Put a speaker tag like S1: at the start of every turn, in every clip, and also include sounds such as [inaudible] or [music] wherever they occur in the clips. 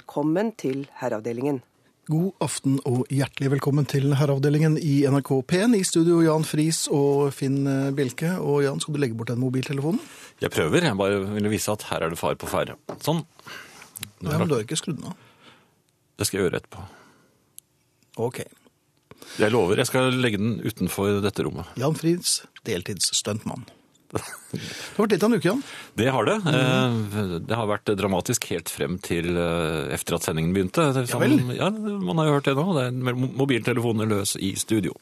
S1: Velkommen til Herreavdelingen.
S2: God aften og hjertelig velkommen til Herreavdelingen i NRK P1. I studio Jan Friis og Finn eh, Bjelke. Og Jan, skal du legge bort den mobiltelefonen?
S3: Jeg prøver. Jeg bare ville vise at her er det fare på ferde. Sånn.
S2: Nei, men du har ikke skrudd den av.
S3: Det skal jeg gjøre etterpå.
S2: Ok.
S3: Jeg lover. Jeg skal legge den utenfor dette rommet.
S2: Jan Friis, deltidsstuntmann. Det har vært litt av en uke, Jan.
S3: Det har det. Eh, Det har vært dramatisk helt frem til eh, efter at sendingen begynte. Det er
S2: Ja
S3: sånn-
S2: vel.
S3: Ja, man har jo hørt det nå. Det er med mobiltelefoner løs i studio.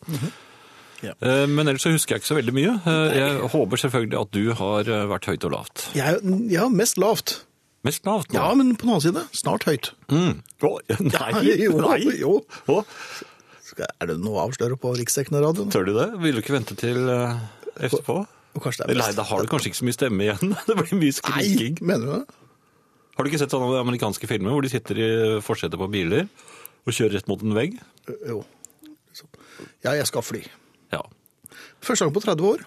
S2: Ja.
S3: Eh, Men ellers så husker jeg ikke så veldig mye. Eh, Jeg håper selvfølgelig at du har eh, vært høyt og lavt.
S2: Jeg, ja, mest lavt.
S3: Mest lavt nå.
S2: Ja, men på den annen side, snart høyt.
S3: Mm. Å, nei,
S2: jo,
S3: nei.
S2: jo.
S3: Å,
S2: Skal- Er det noe å avsløre på riksdekkende radioen?
S3: tør du det? Vil du ikke vente til eh, etterpå?
S2: Og kanskje det er
S3: Nei,
S2: best.
S3: da har du kanskje ikke så mye stemme igjen. [laughs] Det blir
S2: Nei,
S3: mye skriking.
S2: mener du det?
S3: Har du ikke sett sånne amerikanske filmer hvor de sitter i forsetet på biler og kjører rett mot en vegg?
S2: Ø- Eh, Jo. Ja, jeg skal fly.
S3: Ja.
S2: Første gang på 30 år.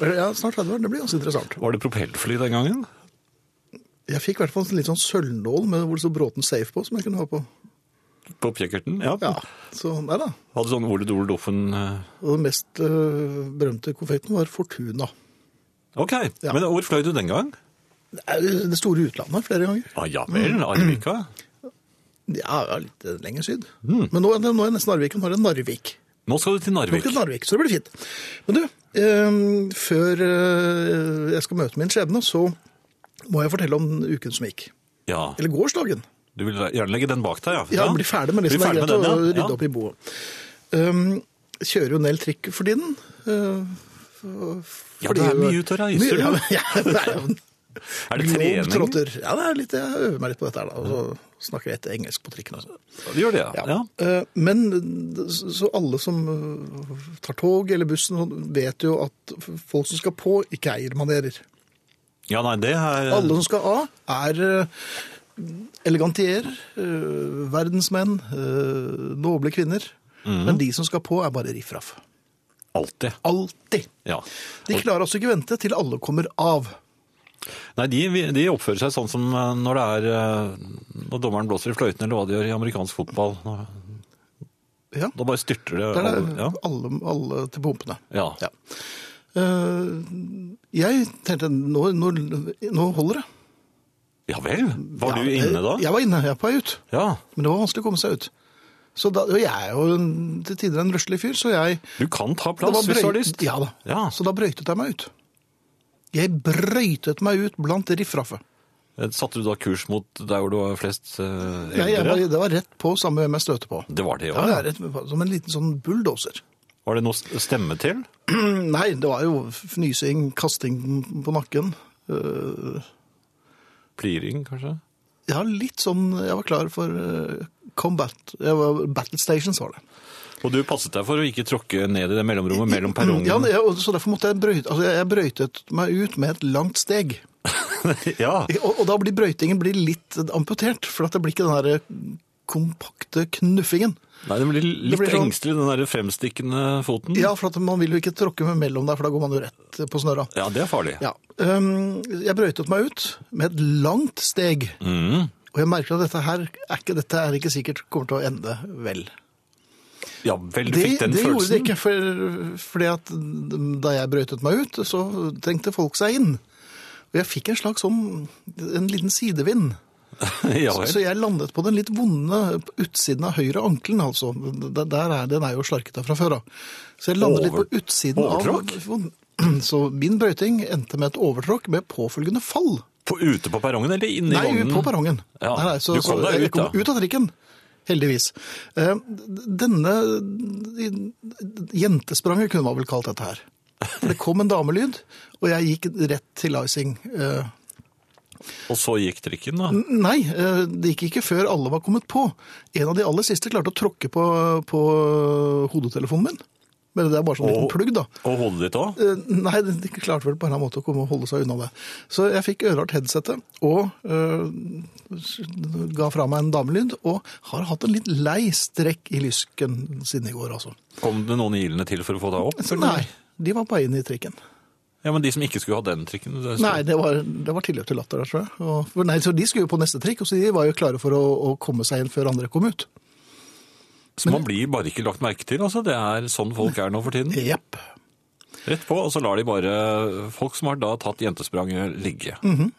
S2: Eller, Ja, snart 30 år. Det blir ganske interessant.
S3: Var det propellfly den gangen?
S2: Jeg fikk i hvert fall en litt sånn sølvnål med hvor det sto Bråten Safe på, som jeg kunne ha på.
S3: På kjekkerten? Ja.
S2: Ja, så nei da.
S3: Hadde sånn Ole Dole Doffen eh,
S2: Og den mest ø, berømte konfekten var Fortuna.
S3: Ok,
S2: Ja.
S3: men hvor fløy du den gang?
S2: Det er jo Det store utlandet flere ganger.
S3: Ah, ja vel, Arvika.
S2: Ja, ja, litt lenger syd.
S3: Mm.
S2: Men nå, nå er jeg nesten Narvik. Nå er det Narvik.
S3: Nå skal du til
S2: Nå er
S3: Narvik.
S2: det Narvik, så det blir fint. Men du, eh, før eh, jeg skal møte min skjebne, så må jeg fortelle om uken som gikk.
S3: Ja,
S2: Eller gårsdagen.
S3: Du vil gjerne legge den bak deg, ja?
S2: Ja, bli ferdig med det
S3: Bli
S2: som er
S3: ferdig
S2: greit
S3: med
S2: å
S3: den,
S2: rydde
S3: ja.
S2: opp i boet. Um, kjører jo en del trikk for tiden. eh, for-
S3: Ja, du er
S2: fordi-
S3: mye ute og reiser,
S2: Mye-
S3: du.
S2: Ja, ja, det er jo en
S3: [laughs] Er det trening?
S2: globetrotter. Ja, det er litt, jeg øver meg litt på dette her, da. Og så snakker jeg etter engelsk på trikken også.
S3: Du gjør det, ja. ja.
S2: Eh, Men så så alle som eh, tar tog eller bussen, sånn, vet jo at folk som skal på, ikke eier manerer.
S3: Ja, nei, det er
S2: Alle som skal av, er eh, elegantier, eh, verdensmenn, eh, noble kvinner.
S3: Mhm.
S2: Men de som skal på, er bare riffraff.
S3: alltid.
S2: Alltid.
S3: Ja.
S2: De klarer altså ikke vente til alle kommer av.
S3: Nei, de, de oppfører seg sånn som eh, når det er eh, Når dommeren blåser i fløyten, eller hva de gjør i amerikansk fotball. Nå-
S2: Ja.
S3: Da bare styrter det.
S2: Der er
S3: alle- ja.
S2: alle, alle til pumpene.
S3: Ja.
S2: Ja. Eh, jeg tenkte nå, nå, nå holder det.
S3: ja vel? Var
S2: Ja,
S3: du inne da?
S2: eh, Jeg var inne, jeg er på vei ut.
S3: Ja.
S2: Men det var vanskelig å komme seg ut. Så da, og jeg er jo en- til tider en røslig fyr, så jeg
S3: Du kan ta
S2: Da var
S3: plass hvis du har
S2: brøy-
S3: lyst.
S2: Ja da.
S3: Ja.
S2: Så da brøytet jeg meg ut. Jeg brøytet meg ut blant riffraffet.
S3: Eh, Satte du da kurs mot der hvor du var flest eh,
S2: Jeg, jeg, var-
S3: eldre?
S2: det var rett på samme hvem jeg støter på.
S3: Det var det,
S2: Ja,
S3: ja.
S2: det er rett, som en liten sånn bulldoser.
S3: Var det noe å stemme til?
S2: [clears throat] Nei, det var jo fnysing, kasting på nakken. Eh,
S3: Pliring, kanskje?
S2: Jeg har litt sånn Jeg var klar for eh, combat. Jeg var, battle stations var det.
S3: Og du passet deg for å ikke tråkke ned i det mellomrommet mellom perrongen?
S2: Ja, jeg- og så derfor måtte jeg brøyte Altså, jeg jeg brøytet meg ut med et langt steg.
S3: [laughs] ja.
S2: Og, og da blir brøytingen blir litt amputert, for at det blir ikke den der kompakte knuffingen.
S3: Nei, det blir litt
S2: blir sånn-
S3: engstelig, den der fremstikkende foten.
S2: Ja, for at man vil jo ikke tråkke med mellom der, for da går man jo rett eh, på snøra.
S3: Ja, det er farlig.
S2: Ja. Øhm, jeg brøytet meg ut med et langt steg,
S3: Mm.
S2: og jeg merker at dette her er ikke, dette er ikke sikkert kommer til å ende vel.
S3: ja vel, du
S2: Det,
S3: fikk den
S2: det gjorde det
S3: følelsen?
S2: ikke, for, fordi at da jeg brøytet meg ut, så trengte folk seg inn. Og jeg fikk en slags sånn, en liten sidevind.
S3: [laughs] ja,
S2: Så,
S3: vel.
S2: så jeg landet på den litt vonde utsiden av høyre ankelen, altså. Der, der er, den er jo slarkete fra før av. Så jeg landet
S3: Over-
S2: litt på utsiden
S3: overtråkk?
S2: av vond- [clears throat] Så min brøyting endte med et overtråkk med påfølgende fall.
S3: På, ute på perrongen eller inne i
S2: Nei,
S3: vognen?
S2: på perrongen.
S3: Ja,
S2: Nei, nei, så,
S3: du kom
S2: så
S3: deg
S2: jeg
S3: ut, da.
S2: kom ut av trikken. Heldigvis. Eh, Denne jentespranget kunne man vel kalt dette her. For det kom en damelyd, og jeg gikk rett til icing. Eh,
S3: Og så gikk trikken, da?
S2: Nei, eh, det gikk ikke før alle var kommet på. En av de aller siste klarte å tråkke på, på hodetelefonen min. Men det er bare sånn liten
S3: Og-
S2: plugg, da.
S3: Og hodet ditt òg?
S2: Eh, Nei, de klarte vel på en eller annen måte å komme og holde seg unna det. Så jeg fikk ørart headsetet og eh, s- ga fra meg en damelyd, og har hatt en litt lei strekk i lysken siden i går, altså.
S3: Kom det noen ilende til for å få deg opp?
S2: Så nei, de var på vei inn i trikken.
S3: Ja, Men de som ikke skulle ha den trikken det skulle-
S2: Nei, det var, det var tilløp til latter der, tror jeg. Og, for nei, så de skulle jo på neste trikk, og så de var jo klare for å, å komme seg inn før andre kom ut.
S3: Så man blir bare ikke lagt merke til. altså. Det er sånn folk er nå
S2: [laughs]
S3: for tiden.
S2: Jepp.
S3: Rett på, og så lar de bare folk som har da tatt jentespranget, ligge.
S2: Mm.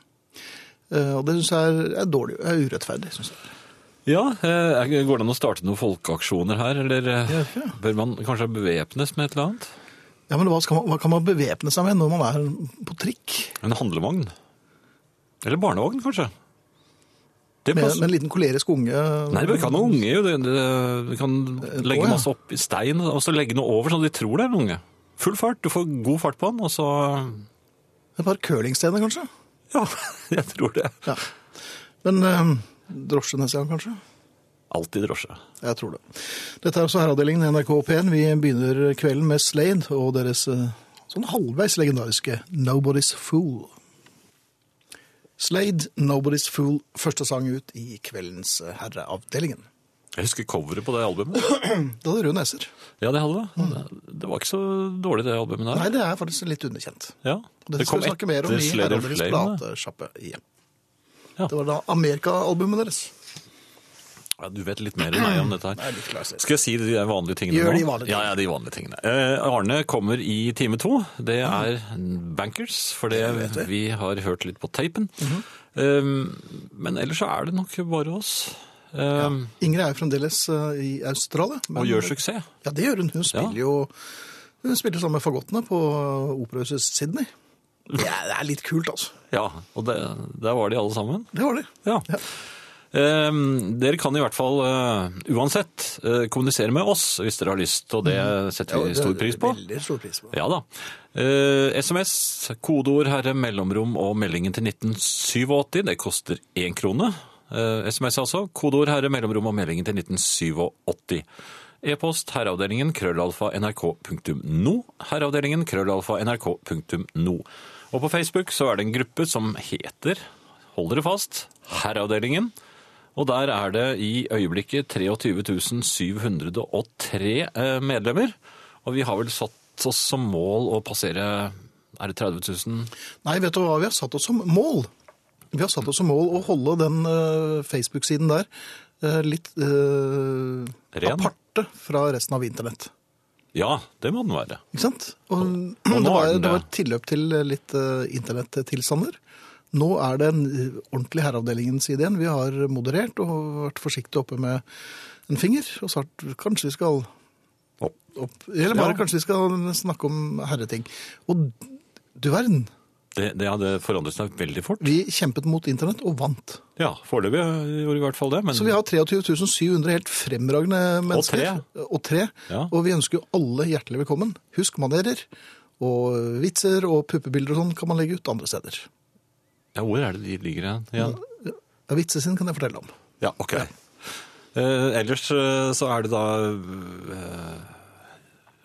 S2: Eh, Og det syns jeg er, er dårlig, er urettferdig. Synes jeg.
S3: Ja, eh, Går det an å starte noen folkeaksjoner her, eller eh,
S2: Ja, ja.
S3: bør man kanskje bevæpnes med et eller annet?
S2: Ja, men hva, skal man, hva kan man bevæpne seg med når man er på trikk?
S3: En handlevogn? Eller barnevogn, kanskje? Det
S2: Med,
S3: passer.
S2: med en liten kolerisk unge?
S3: Nei, det kan ha unge. jo. Det- det- Du kan legge
S2: Å, ja.
S3: masse opp i stein, og så legge noe over, så de tror det er en unge. Full fart, du får god fart på den, og så
S2: Et par curlingstener, kanskje?
S3: Ja, [laughs] jeg tror det.
S2: Ja. Men eh, drosje neste gang, kanskje?
S3: Alltid drosje.
S2: Jeg tror det. Dette er også herreavdelingen i NRK P1. Vi begynner kvelden med Slade og deres eh, sånn halvveis legendariske Nobody's Fool. Slade, Nobody's Fool, første sang ut i kveldens eh, herreavdelingen.
S3: Jeg husker coveret på det albumet.
S2: Da hadde rød neser.
S3: [clears throat] Ja, det hadde det. Det var ikke så dårlig, det albumet der.
S2: Nei, det er faktisk litt underkjent.
S3: Ja.
S2: Det, skal vi snakke mer om i
S3: Slade of
S2: herreavdelingens
S3: Flame. da.
S2: platesjappe. Ja.
S3: Ja.
S2: Det var da Amerika-albumet deres.
S3: Ja, du vet litt mer enn meg om dette
S2: Det er
S3: her.
S2: litt klassisk.
S3: Skal jeg si de vanlige tingene
S2: Gjør
S3: nå?
S2: de vanlige
S3: Ja, ja, de vanlige tingene. Eh, Arne kommer i time to. Det er Bankers, for det vi har hørt litt på tapen.
S2: Mhm.
S3: eh, men ellers så er det nok bare oss. Eh,
S2: Ingrid er jo fremdeles eh, i Australia. men-
S3: Og gjør suksess.
S2: Ja, det gjør hun. Hun spiller jo hun spiller sammen med fagottene på operahuset Sydney. Det er, det er litt kult, altså.
S3: Ja, og det, der var de alle sammen.
S2: Det var det.
S3: Ja.
S2: Ja.
S3: Eh, dere kan i hvert fall eh, uansett eh, kommunisere med oss hvis dere har lyst, og det setter vi
S2: Mhm. det
S3: stor pris på.
S2: Veldig stor pris på.
S3: Ja da. Eh, SMS, kodeord herre, mellomrom og meldingen til 1987. Det koster én krone. Eh, SMS altså. Kodeord herre, mellomrom og meldingen til 1987. E-post herreavdelingen krøllalfa nrk.no. Herreavdelingen krøllalfa nrk.no. Og på Facebook så er det en gruppe som heter, hold dere fast, Herreavdelingen. Og der er det i øyeblikket 23 703 eh, medlemmer. Og vi har vel satt oss som mål å passere er det 30 000?
S2: Nei, vet du hva vi har satt oss som mål? Vi har satt oss som mål å holde den eh, Facebook-siden der eh, litt eh,
S3: Ren.
S2: aparte fra resten av internett.
S3: Ja, det må den være.
S2: Ikke sant? Og, [clears throat]
S3: nå
S2: det, var,
S3: er den
S2: det var
S3: det.
S2: tilløp til litt uh, internettilstander. Nå er det en eh, ordentlig herreavdelingen-side igjen. Vi har moderert og vært forsiktige oppe med en finger. Og sagt kanskje vi skal
S3: Opp.
S2: opp Eller bare
S3: Ja.
S2: kanskje vi skal snakke om herreting. Og du verden,
S3: Det, det hadde forandret seg veldig fort.
S2: vi kjempet mot internett og vant.
S3: Ja, foreløpig gjorde vi i hvert fall det. Men
S2: Så vi har 23 700 helt fremragende mennesker. Og tre.
S3: Ja.
S2: Og vi ønsker jo alle hjertelig velkommen. Husk manerer. Og vitser og puppebilder og sånn kan man legge ut andre steder.
S3: ja, hvor er det de ligger igjen? igjen?
S2: Ja, vitser sin kan jeg fortelle om.
S3: Ja, ok. Eh, ellers eh, så er det da eh,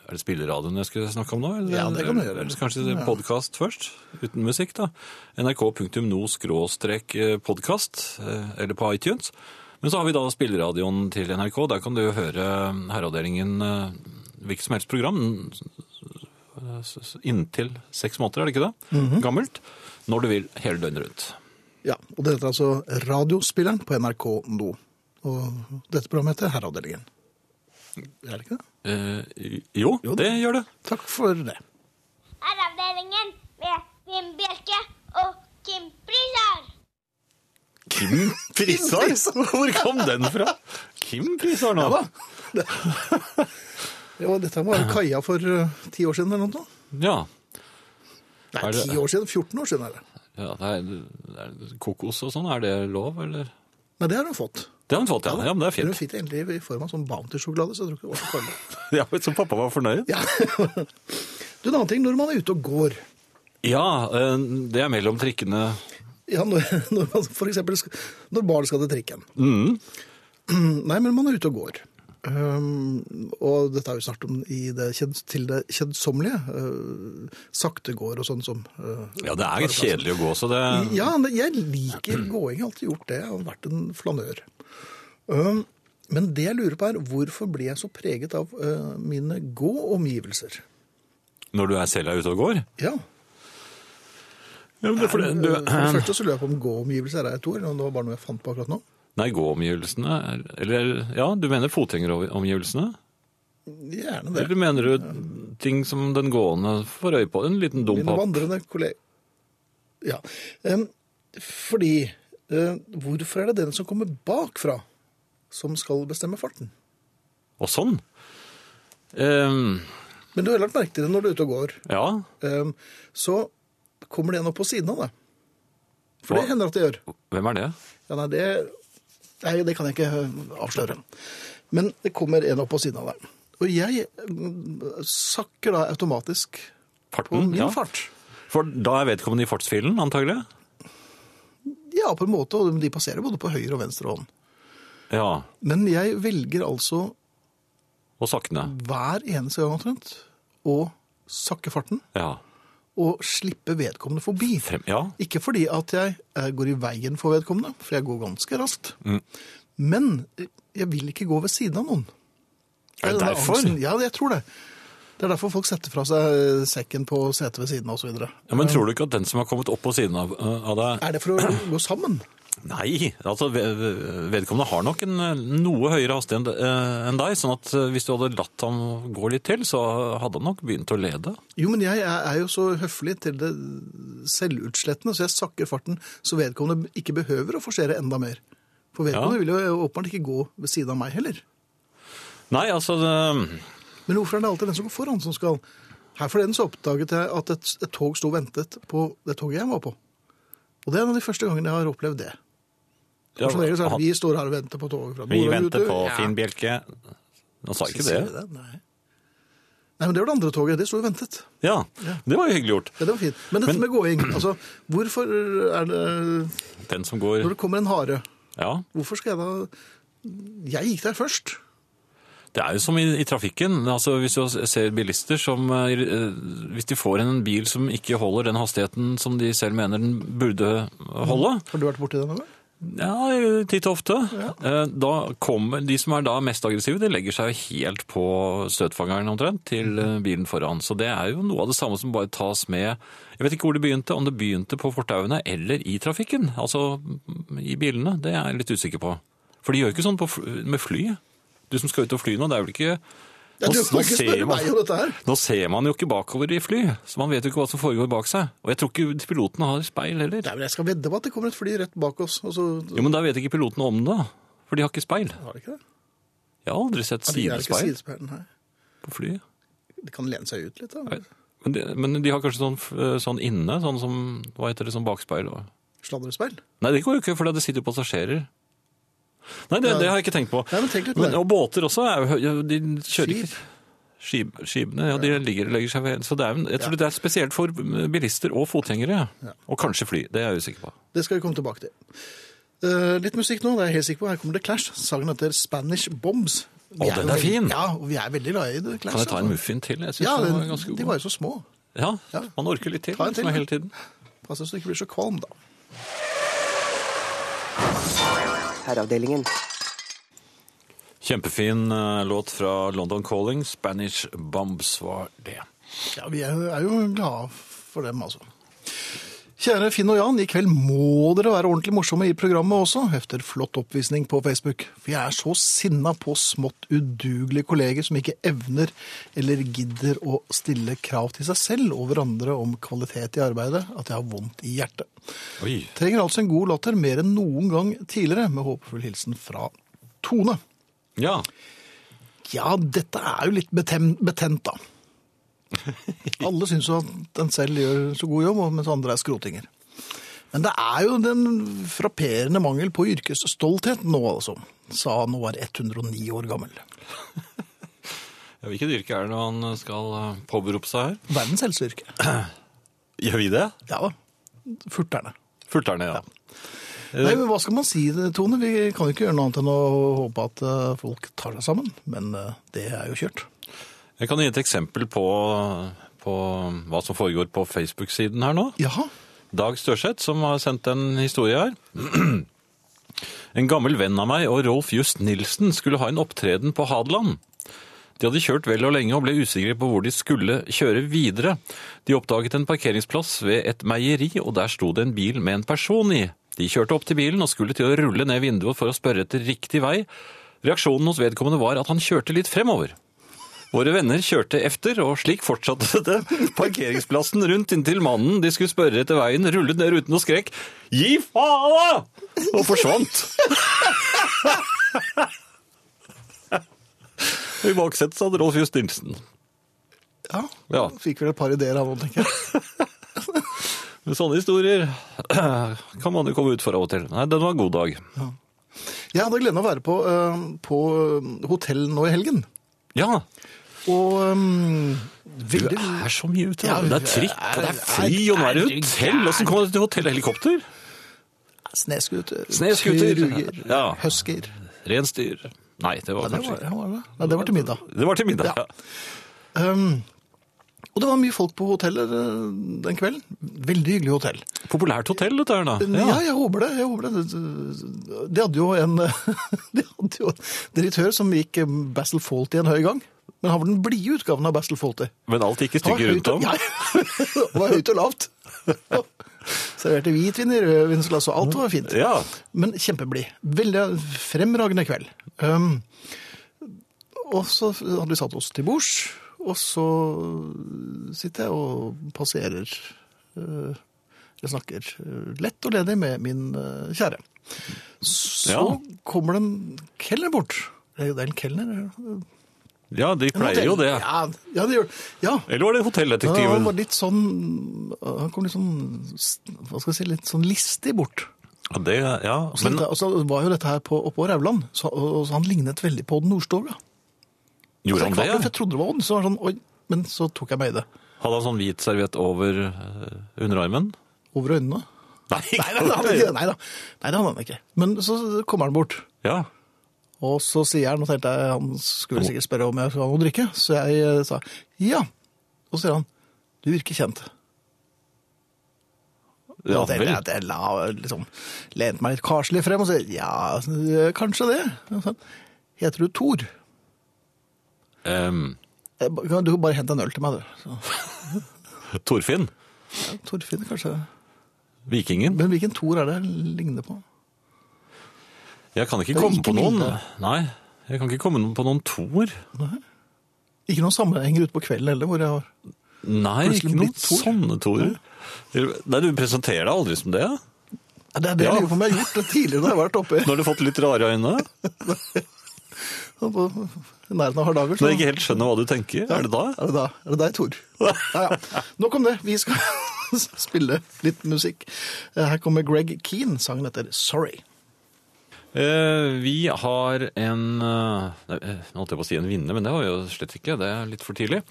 S3: Er det spilleradioen jeg skulle snakke om nå? Eller,
S2: Ja, det kan du gjøre.
S3: Eller kanskje podkast først? Uten musikk, da. nrk.no-podkast, eh, eller på iTunes. Men så har vi da spilleradioen til NRK. Der kan du jo høre Herreavdelingen eh, hvilket som helst program eh, s- s- inntil seks måneder, er det ikke det?
S2: Mhm.
S3: Gammelt. Når du vil, hele døgnet rundt.
S2: Ja, og det heter altså Radiospilleren på NRK nå. Og dette programmet heter Herreavdelingen. Er det ikke det?
S3: Eh, jo,
S2: Jo.
S3: det gjør det.
S2: Takk for det.
S4: Herreavdelingen med Kim Bjelke og Kim Prisar.
S3: Kim Prisar?
S2: Prisar.
S3: Hvor kom den fra? Kim Prisar nå? Ja,
S2: Det var, dette var kaia for eh, ti år siden eller noe. sånt. Nei,
S3: Er det-
S2: ti år siden. 14 år siden er det.
S3: Ja, det er, det er kokos og sånn, er det lov, eller?
S2: Nei, det har hun fått.
S3: Det har hun fått, ja. ja men det er
S2: Hun
S3: fint.
S2: fikk det endelig i form av sånn Bounty-sjokolade, så jeg tror ikke det var så farlig.
S3: Ja, så pappa var fornøyd? Ja,
S2: [laughs] Du, en annen ting, når man er ute og går
S3: eh, det er mellom trikkene.
S2: ja, når, når man, For eksempel sk- når barn skal til trikken.
S3: Mm.
S2: Nei, men man er ute og går. Um, og dette har vi snart om i det kjed, til det kjedsommelige. Uh, sakte går og sånn som uh,
S3: Ja, det er kjedelig å gå, så det
S2: Ja, men jeg liker gåing. Jeg har alltid gjort det. Jeg har vært en flanør. Um, men det jeg lurer på, er hvorfor blir jeg så preget av uh, mine gåomgivelser?
S3: Når du er selv er ute og går?
S2: Ja.
S3: Ja, men det, er fordi
S2: Eh, For det
S3: du, eh,
S2: første så lurer jeg på om gåomgivelser er et ord. og Det var bare noe jeg fant på akkurat nå.
S3: nei, gåomgivelsene er- Eller ja, du mener fotgjengeromgivelsene?
S2: Gjerne det.
S3: Eller mener du ting som den gående får øye på? En liten dum
S2: Mine
S3: papp?
S2: vandrende kolleger. Ja. Em, fordi eh, hvorfor er det den som kommer bakfra, som skal bestemme farten?
S3: Og sånn? Ehm,
S2: Men du har lagt merke til det når du er ute og går.
S3: ja.
S2: Em, så kommer det en opp på siden av deg. For
S3: Hva?
S2: det hender at det gjør.
S3: Hvem er det?
S2: Ja, nei, det, nei, det kan jeg ikke eh, avsløre. Men det kommer en opp på siden av deg. Og jeg mm, sakker da automatisk på
S3: Farten?
S2: min
S3: Mm, Ja.
S2: fart.
S3: For da er vedkommende i fartsfilen, antagelig?
S2: Ja, på en måte, og de passerer både på høyre og venstre hånd.
S3: Ja.
S2: Men jeg velger altså
S3: Og sakne.
S2: hver eneste gang omtrent å sakke farten
S3: Ja.
S2: og slippe vedkommende forbi.
S3: Frem, ja.
S2: Ikke fordi at jeg eh, går i veien for vedkommende, for jeg går ganske raskt.
S3: Mm.
S2: Men eh, jeg vil ikke gå ved siden av noen.
S3: Er det
S2: Denne
S3: derfor?
S2: angsten- Ja, jeg tror det. Det er derfor folk setter fra seg eh, sekken på setet ved siden av osv.
S3: ja. Men tror du ikke at den som har kommet opp på siden av, eh, av deg
S2: Er det for å gå sammen?
S3: Nei, altså ved- vedkommende har nok en eh, noe høyere hastighet enn- eh, enn deg, sånn at eh, hvis du hadde latt ham gå litt til, så hadde han nok begynt å lede.
S2: Jo, men jeg er er jo så høflig til det selvutslettende, så jeg sakker farten så vedkommende ikke behøver å forsere enda mer. For vedkommende
S3: Ja.
S2: vil jo åpenbart ikke gå ved siden av meg heller.
S3: Nei, altså det,
S2: Men hvorfor er det alltid den som går foran som skal? Her forleden så oppdaget jeg at et, et tog sto og ventet på det toget jeg var på. Og det er en av de første gangene jeg har opplevd det.
S3: ja,
S2: som regel så er det
S3: han-
S2: vi står her og venter på toget fra
S3: Vi
S2: Norge
S3: venter
S2: ute.
S3: på
S2: Ja.
S3: Finn Bjelke. Han sa ikke det.
S2: Sier vi Nei. Nei, men det var det andre toget. Det sto og ventet.
S3: Ja, det var jo hyggelig gjort.
S2: Ja, det var fint. Men dette
S3: Men-
S2: med gåing, altså hvorfor er det
S3: Den som
S2: Når
S3: går
S2: det kommer en hare,
S3: Ja.
S2: hvorfor skal jeg da Jeg gikk der først.
S3: Det er jo som i, i trafikken. Altså, hvis du ser bilister som eh, eh, Hvis de får en bil som ikke holder den hastigheten som de selv mener den burde holde,
S2: Har du vært borti det noen gang?
S3: ja, titt og ofte, eh, da kommer de som er da mest aggressive, de legger seg jo helt på støtfangeren omtrent til eh, bilen foran. Så det er jo noe av det samme som bare tas med Jeg vet ikke hvor det begynte, om det begynte på fortauene eller i trafikken. Altså mm, i bilene. Det er jeg litt usikker på. For de gjør ikke sånn på, fl- med fly. Du som skal ut og fly nå, det er vel ikke
S2: Ja,
S3: nå,
S2: du
S3: nå
S2: kan ikke
S3: ser
S2: spørre
S3: man-
S2: meg om dette her.
S3: nå ser man jo ikke bakover i fly, så man vet jo ikke hva som foregår bak seg. Og jeg tror ikke pilotene har speil heller.
S2: Nei, men Jeg skal vedde på at det kommer et fly rett bak oss. Og så
S3: Jo, men da vet ikke pilotene om det, for de har ikke speil.
S2: har det ikke det.
S3: Jeg har aldri sett
S2: Ja, de er ikke
S3: sidespeil
S2: sidespeil, nei.
S3: på fly.
S2: De kan lene seg ut litt. da.
S3: Men de, men de har kanskje sånn, f- sånn inne, sånn som Hva heter det, sånn bakspeil? og-
S2: Sladrespeil.
S3: Nei, det går jo ikke, for det sitter jo passasjerer. Nei, det, det har jeg ikke tenkt på.
S2: Nei, men tenk litt på det.
S3: og båter også er jo hø- De kjører
S2: Skip.
S3: ikke Skib, Skipene, ja, de ligger, legger seg ved Så det er, jo en- jeg tror det er spesielt for eh, bilister og fotgjengere. Og kanskje fly. Det er jeg usikker på.
S2: Det skal vi komme tilbake til. Eh, litt musikk nå, det er jeg helt sikker på. Her kommer The Clash. Sangen heter Spanish Bombs. Vi
S3: den
S2: jo
S3: er
S2: veldig-
S3: fin.
S2: Ja, og vi er veldig glad i The Clash.
S3: Kan jeg ta en
S2: altså.
S3: muffin til? Jeg synes
S2: Ja,
S3: den var
S2: den,
S3: ganske god.
S2: de var jo så små.
S3: Ja,
S2: Ja.
S3: man orker litt til,
S2: Ta en til,
S3: liksom,
S2: ja.
S3: hele tiden.
S2: Pass deg så du ikke blir så kvalm, da.
S1: Herreavdelingen.
S3: Kjempefin eh, låt fra London Calling. Spanish Bombs var det.
S2: Ja, vi er, er jo glade for dem, altså. Kjære Finn og Jan, i kveld må dere være ordentlig morsomme i programmet også, efter flott oppvisning på Facebook. For jeg er så sinna på smått udugelige kolleger som ikke evner eller gidder å stille krav til seg selv og hverandre om kvalitet i arbeidet, at jeg har vondt i hjertet.
S3: Oi.
S2: Trenger altså en god latter mer enn noen gang tidligere, med håpefull hilsen fra Tone.
S3: Ja.
S2: Ja, dette er jo litt betem, betent, da. Alle syns jo at en selv gjør så god jobb, og- mens andre er skrotinger. Men det er jo den frapperende mangel på yrkesstolthet nå, altså. Sa han og var 109 år gammel.
S3: Ja, Hvilket yrke er det man skal eh, påberope seg her?
S2: Verdens helseyrke.
S3: Gjør vi det?
S2: Ja, furterne.
S3: Furterne, ja.
S2: Nei, men Hva skal man si, Tone? Vi kan jo ikke gjøre noe annet enn å håpe at eh, folk tar seg sammen. Men eh, det er jo kjørt.
S3: Jeg kan gi et eksempel på, på hva som foregår på Facebook-siden her nå.
S2: Jaha.
S3: Dag Størseth, som har sendt en historie her. [clears throat] En gammel venn av meg og Rolf Just Nilsen skulle ha en opptreden på Hadeland. De hadde kjørt vel og lenge og ble usikre på hvor de skulle kjøre videre. De oppdaget en parkeringsplass ved et meieri, og der sto det en bil med en person i. De kjørte opp til bilen og skulle til å rulle ned vinduet for å spørre etter riktig vei. Reaksjonen hos vedkommende var at han kjørte litt fremover. Våre venner kjørte efter, og slik fortsatte [laughs] det. Parkeringsplassen rundt inntil mannen de skulle spørre etter veien, rullet ned ruten og skrek 'gi faen!' og forsvant. [laughs] I baksetet satt Rolf Just Nilsen.
S2: Ja,
S3: Ja.
S2: Fikk vel et par ideer av noe, tenker jeg.
S3: Men sånne historier [clears throat] kan man jo komme ut for av og til. Nei, den var god dag.
S2: Jeg hadde gleden av å være på, eh, på hotell nå i helgen.
S3: Ja,
S2: Og um,
S3: du
S2: veldig
S3: er så mye ute.
S2: Ja,
S3: det er trikk, og det er fly, og nå er det hotell. Åssen kom du til hotellhelikopter?
S2: Sneskuter.
S3: Snescooter.
S2: Ruger.
S3: Ja.
S2: Husker.
S3: Renstyr. Nei, det var
S2: Ja, det
S3: kanskje
S2: var, ja, var det? Nei, det var til middag.
S3: Det var til middag,
S2: Ja.
S3: ja.
S2: Um, og det var mye folk på hotellet eh, den kvelden. Veldig hyggelig hotell.
S3: Populært hotell, dette her, da.
S2: Ja, jeg håper det. jeg håper det. De hadde jo en, [laughs] de hadde jo en direktør som gikk Basil Fawlty en høy gang. Men han var den blide utgaven av Basil Fawlty.
S3: Men alt gikk i
S2: Han var
S3: stykker rundt
S2: høyt og-
S3: om.
S2: Ja, [laughs] han var høyt og lavt. Serverte hvitvin i rødvinsglass, og alt var fint.
S3: Ja.
S2: Men kjempeblid. Veldig fremragende kveld. Um, og så hadde vi satt oss til bords, og så sitter jeg og passerer eh, Jeg snakker eh, lett og ledig med min eh, kjære. Så
S3: Ja.
S2: kommer det en kelner bort. Det er jo det er en kelner? En
S3: ja, de pleier jo
S2: hotell-
S3: det.
S2: Ja, ja, det gjør Ja.
S3: Eller var det
S2: Ja, han
S3: hotelldetektiven?
S2: var litt sånn Han kom litt sånn Hva skal jeg si, litt sånn listig bort.
S3: Ja, det, ja.
S2: Så
S3: Men
S2: dette- og så var jo dette her på, oppå Rauland, så, og, så han lignet veldig på Odd Nordstoga. Så
S3: gjorde
S2: jeg
S3: han
S2: kvapp litt, for
S3: det?
S2: jeg trodde det var Odd, så var det sånn, oi, men så tok jeg meg i det.
S3: ja? Hadde han sånn hvit serviett over eh, underarmen?
S2: Over
S3: [laughs]
S2: øynene.
S3: Nei,
S2: Nei, nei, det hadde han ikke. Nei, da. nei, det hadde han ikke. Men så kommer han bort,
S3: [laughs] Ja.
S2: og så sier han, og tenkte jeg, han skulle sikkert spørre om jeg skulle ha noe å drikke, så jeg eh, sa ja. Og så sier han, du virker kjent.
S3: ja
S2: og tenkte jeg
S3: vel.
S2: at jeg la, liksom, lente meg litt karslig frem og sa ja, kanskje det. Og så, Heter du Thor?
S3: Em,
S2: Jeg ba- Kan du bare hente en øl til meg, du? Så,
S3: Torfinn?
S2: ja, Torfinn, kanskje.
S3: Vikingen?
S2: Men hvilken Thor er det jeg ligner på?
S3: Jeg kan ikke
S2: er
S3: komme
S2: ikke
S3: på noen.
S2: bildet.
S3: Nei, jeg kan ikke komme på noen toer.
S2: Ikke noen sammenhenger ute på kvelden heller, hvor jeg var.
S3: Nei,
S2: Plutselig
S3: ikke noen
S2: blitt Thor.
S3: sånne toer. Nei, du presenterer deg aldri som det. ja.
S2: Ja, Det er det
S3: Ja.
S2: jeg lurer på om jeg har gjort det tidligere når jeg har vært oppe i-
S3: Nå har du fått litt rare øyne.
S2: på- i nærheten av Hardanger.
S3: Når jeg ikke helt skjønner hva du tenker, er det da?
S2: Er det da? Er det deg, Tor? Ja, ja. Nok om det. Vi skal [laughs] spille litt musikk. Eh, Her kommer Greg Keane, sangen heter Sorry.
S3: Eh, Vi har en eh, nei, eh, Nå holdt jeg på å si en vinner, men det har vi jo slett ikke. Det er litt for tidlig.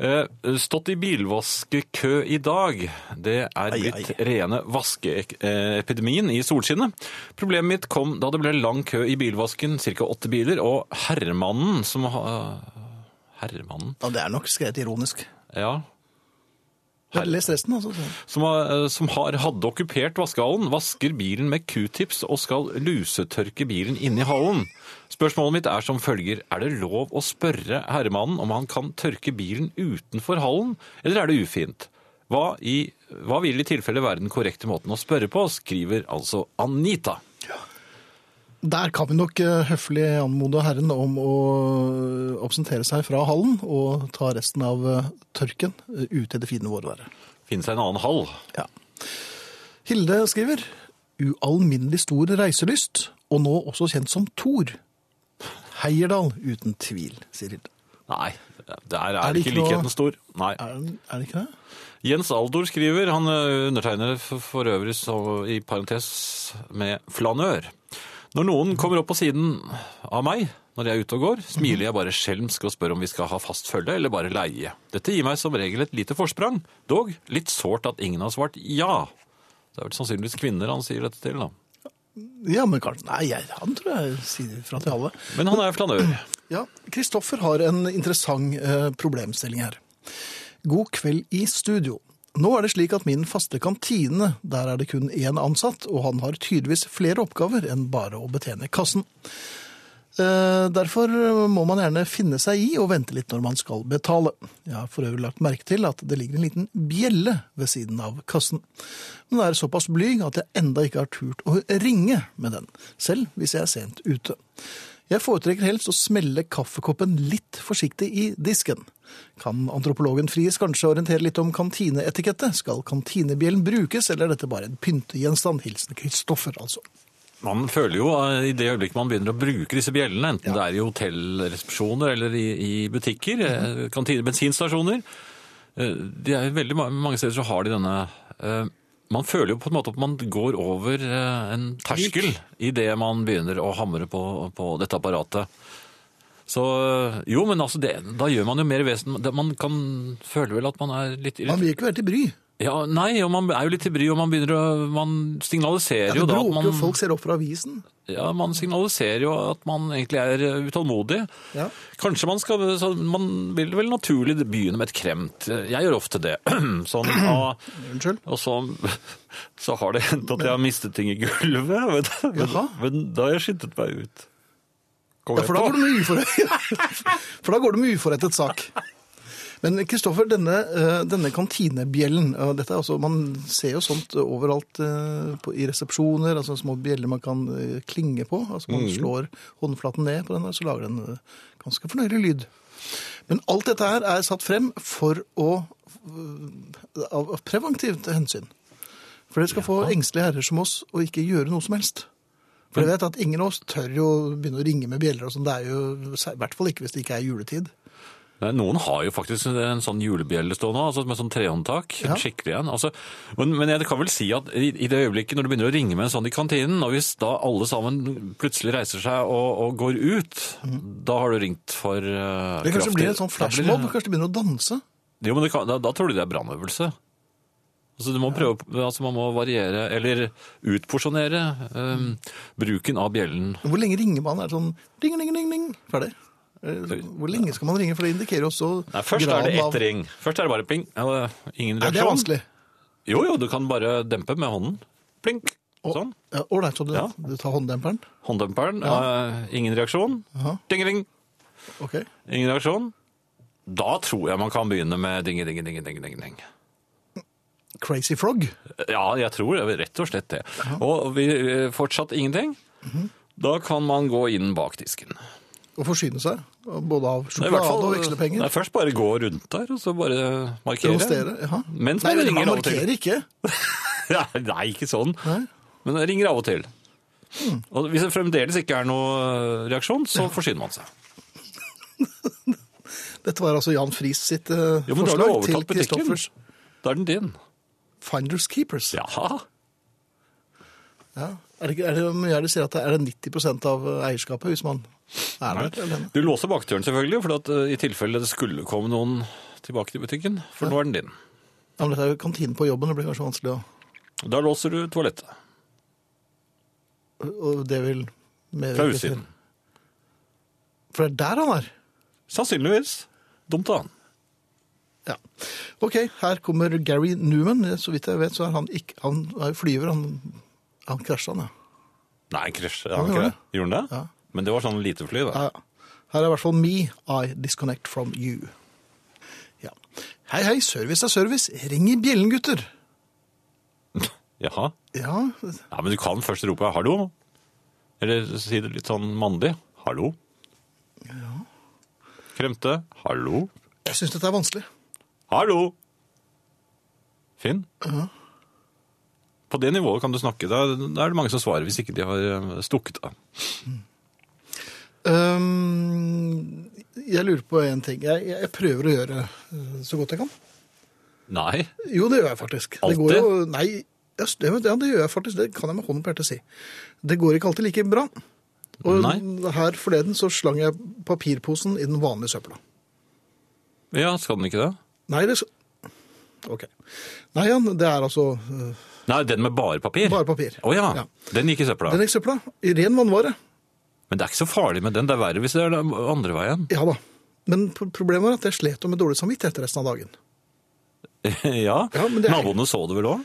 S3: Eh, Stått i bilvaskekø i dag. Det er blitt rene vaskeepidemien i solskinnet. Problemet mitt kom da det ble lang kø i bilvasken, ca. åtte biler, og herremannen som ha- Herremannen?
S2: Ja, det er nok skrevet ironisk.
S3: Ja.
S2: Her. Les resten, altså.
S3: som, har, eh, som har hadde okkupert vaskehallen, vasker bilen med Q-tips og skal lusetørke bilen inni hallen. Spørsmålet mitt er som følger, er det lov å spørre herremannen om han kan tørke bilen utenfor hallen, eller er det ufint? Hva, i, hva vil i tilfelle være den korrekte måten å spørre på, skriver altså Anita.
S2: Der kan vi nok eh, høflig anmode herren om å eh, absentere seg fra hallen og ta resten av eh, tørken eh, ute i det fine vårværet.
S3: Finnes det en annen hall?
S2: Ja. Hilde skriver ualminnelig stor reiselyst, og nå også kjent som Thor. Heierdal, uten tvil, sier Hilde.
S3: Nei, der er,
S2: Er det
S3: ikke
S2: ikke noe-
S3: likheten stor. Nei.
S2: Er, er det ikke det?
S3: Jens Aldor skriver, han ø, undertegner for, for øvrig så, i parentes med flanør. Når noen kommer opp på siden av meg når jeg er ute og går, smiler jeg bare skjelmsk og spør om vi skal ha fast følge eller bare leie. Dette gir meg som regel et lite forsprang, dog litt sårt at ingen har svart ja. Det er vel sannsynligvis kvinner han sier dette til, da.
S2: Ja, men kanskje Nei, jeg, han tror jeg sier fra til alle.
S3: Men han er flanør.
S2: Ja, Kristoffer har en interessant eh, problemstilling her. God kveld i studio. Nå er det slik at min faste kantine, der er det kun én ansatt, og han har tydeligvis flere oppgaver enn bare å betjene kassen. Eh, Derfor må man gjerne finne seg i og vente litt når man skal betale. Jeg har for øvrig lagt merke til at det ligger en liten bjelle ved siden av kassen. Men den er såpass blyg at jeg enda ikke har turt å ringe med den, selv hvis jeg er sent ute. Jeg foretrekker helst å smelle kaffekoppen litt forsiktig i disken. Kan antropologen Friis kanskje orientere litt om kantineetikette? Skal kantinebjellen brukes, eller er dette bare en pyntegjenstand? Hilsen Kristoffer, altså.
S3: Man føler jo eh, i det øyeblikket man begynner å bruke disse bjellene, enten det er i hotellresepsjoner eller i, i butikker,
S2: Mhm.
S3: eh, kantiner, bensinstasjoner eh, det er veldig ma- mange steder så har de denne eh, Man føler jo på en måte at man går over eh, en terskel i det man begynner å hamre på, på dette apparatet. Så eh, Jo, men altså, det, da gjør man jo mer vesen det- Man kan føle vel at man er litt
S2: Man vil ikke være til bry.
S3: ja, Nei, og man er jo litt til bry, og man begynner å Man signaliserer
S2: Ja,
S3: jo
S2: det
S3: da at
S2: bråker
S3: man
S2: jo, folk ser opp fra avisen.
S3: ja, man signaliserer jo at man egentlig er eh, utålmodig.
S2: Ja.
S3: Kanskje man skal så Man vil vel naturlig begynne med et kremt. Jeg gjør ofte det. [clears throat]
S2: [clears throat]
S3: Sånn, og,
S2: Unnskyld.
S3: og så, [laughs] så har det hendt at jeg har mistet ting i gulvet. [laughs] Men, men,
S2: Jaha.
S3: men da har jeg skyndet meg ut. Kom
S2: Ja, for da går det med uforrettet, [laughs] for da går det med uforrettet sak. Men Kristoffer, denne, eh, denne kantinebjellen, og dette er også, man ser jo sånt overalt eh, på, i resepsjoner, altså små bjeller man kan eh, klinge på, altså man slår håndflaten ned på den, og så lager den eh, ganske fornøyelig lyd. Men alt dette her er satt frem for å, eh, av av preventivt hensyn. For det skal få engstelige herrer som oss å ikke gjøre noe som helst. For jeg vet at ingen av oss tør jo begynne å ringe med bjeller og sånn. Det er jo i hvert fall ikke hvis det ikke er juletid.
S3: Nei, noen har jo faktisk en sånn julebjelle stående, altså med sånn trehåndtak.
S2: Ja.
S3: en Skikkelig en. Altså, men, men jeg kan vel si at i, i det øyeblikket når du begynner å ringe med en sånn i kantinen, og hvis da alle sammen plutselig reiser seg og, og går ut, da har du ringt for eh,
S2: Mm. Det kanskje
S3: kraftig-
S2: blir en sånn
S3: Da blir det-
S2: flashmob. Kanskje de begynner å danse.
S3: Jo, men det kan, da, da tror de det er brannøvelse. Altså, du må prøve, altså, man må variere, eller utporsjonere eh, bruken av bjellen.
S2: Hvor lenge ringer man? Er det sånn ding, ding, ding, ding? Ferdig. Eh, Hvor lenge skal man ringe? For det indikerer jo også
S3: Nei, først er det
S2: graden
S3: ett ring. Først er det bare ping. eller Ingen
S2: Nei,
S3: reaksjon.
S2: det er vanskelig.
S3: Jo, jo, du kan bare dempe med hånden. Plink. Sånn.
S2: Ålreit, så du,
S3: Ja.
S2: du tar hånddemperen.
S3: Hånddemperen. eh, ingen reaksjon.
S2: Aha.
S3: Ding-ding.
S2: Ok.
S3: Ingen reaksjon. Da tror jeg man kan begynne med ding-ding-ding-ding-ding-ding.
S2: Crazy Frog.
S3: Ja, jeg tror det, rett og slett det. Og vi, eh, fortsatt ingenting.
S2: Mhm.
S3: Da kan man gå inn bak disken.
S2: Å forsyne seg. Både av
S3: Det er i
S2: sjokolade
S3: hvert fall-
S2: og vekslepenger.
S3: Nei, først bare gå rundt der, og så bare markere.
S2: Rostere. Jaha.
S3: Mens
S2: Nei,
S3: man
S2: men
S3: ringer
S2: man
S3: av og til.
S2: markerer ikke.
S3: [laughs] Ja, Nei, ikke sånn.
S2: Nei. Hmm.
S3: Men det ringer av og til. Og hvis det fremdeles ikke er noe eh, reaksjon, så forsyner man seg.
S2: Dette var altså Jan Friis sitt eh,
S3: Jo, men da har du
S2: forslag til
S3: overtatt butikken.
S2: Kristoffers
S3: Da er den din.
S2: Finders Keepers.
S3: Jaha.
S2: Ja. Er det, ikke- er det hvor mye er det sier at det er det 90 av eh, eierskapet hvis man er der alene?
S3: Du låser bakdøren selvfølgelig, for at, eh, i tilfelle det skulle komme noen tilbake til butikken, for nå er den din.
S2: Ja, men dette er jo kantinen på jobben, det blir kanskje vanskelig å
S3: Da låser du toalettet
S2: Og det vil medvirke
S3: fra
S2: til-
S3: utsiden.
S2: For det er der han er.
S3: Sannsynligvis. Dumt av han.
S2: Ja. Ok, her kommer Gary Newman. Så vidt jeg vet, så er han ikke Han er jo flyver, han Han krasja, han, ja.
S3: Nei, krasj.
S2: Ja,
S3: Han
S2: det
S3: ikke
S2: var
S3: det? Gjorde han det?
S2: Ja.
S3: Men det var sånn lite fly, da.
S2: Ja, ja. Her er i hvert fall me, I disconnect from you. Ja. Hei, hei, service er service. Ring i bjellen, gutter.
S3: Jaha.
S2: Ja,
S3: Ja, men du kan først rope 'hallo'. Eller si det litt sånn mandig. 'Hallo'. Kremte. 'Hallo'.
S2: jeg syns dette er vanskelig.
S3: Hallo! Finn? På det nivået kan du snakke. Da, da er det mange som svarer hvis ikke de har eh, stukket av.
S2: Øhm, jeg lurer på en ting. Jeg, jeg, jeg prøver å gjøre øh, så godt jeg kan.
S3: Nei.
S2: Jo, det gjør jeg faktisk. Det
S3: Alltid?
S2: går jo, nei, ja, det, ja, det gjør jeg faktisk. Det kan jeg med hånden på hjertet si. Det går ikke alltid like bra. Og
S3: Nei.
S2: her forleden så slang jeg papirposen i den vanlige søpla.
S3: Ja, skal den ikke det?
S2: Nei, det s- Ok. Nei, Jan, det er altså øh,
S3: Nei, den med bare papir?
S2: bare papir.
S3: Å ja.
S2: Ja.
S3: Den gikk i søpla.
S2: Den i søpla. I ren vannvare.
S3: Men det er ikke så farlig med den. Det er verre hvis det er den andre veien.
S2: Ja da. Men pro- problemet var at jeg slet jo med dårlig samvittighet resten av dagen.
S3: ja.
S2: Ja, men det er-
S3: Naboene så det vel òg?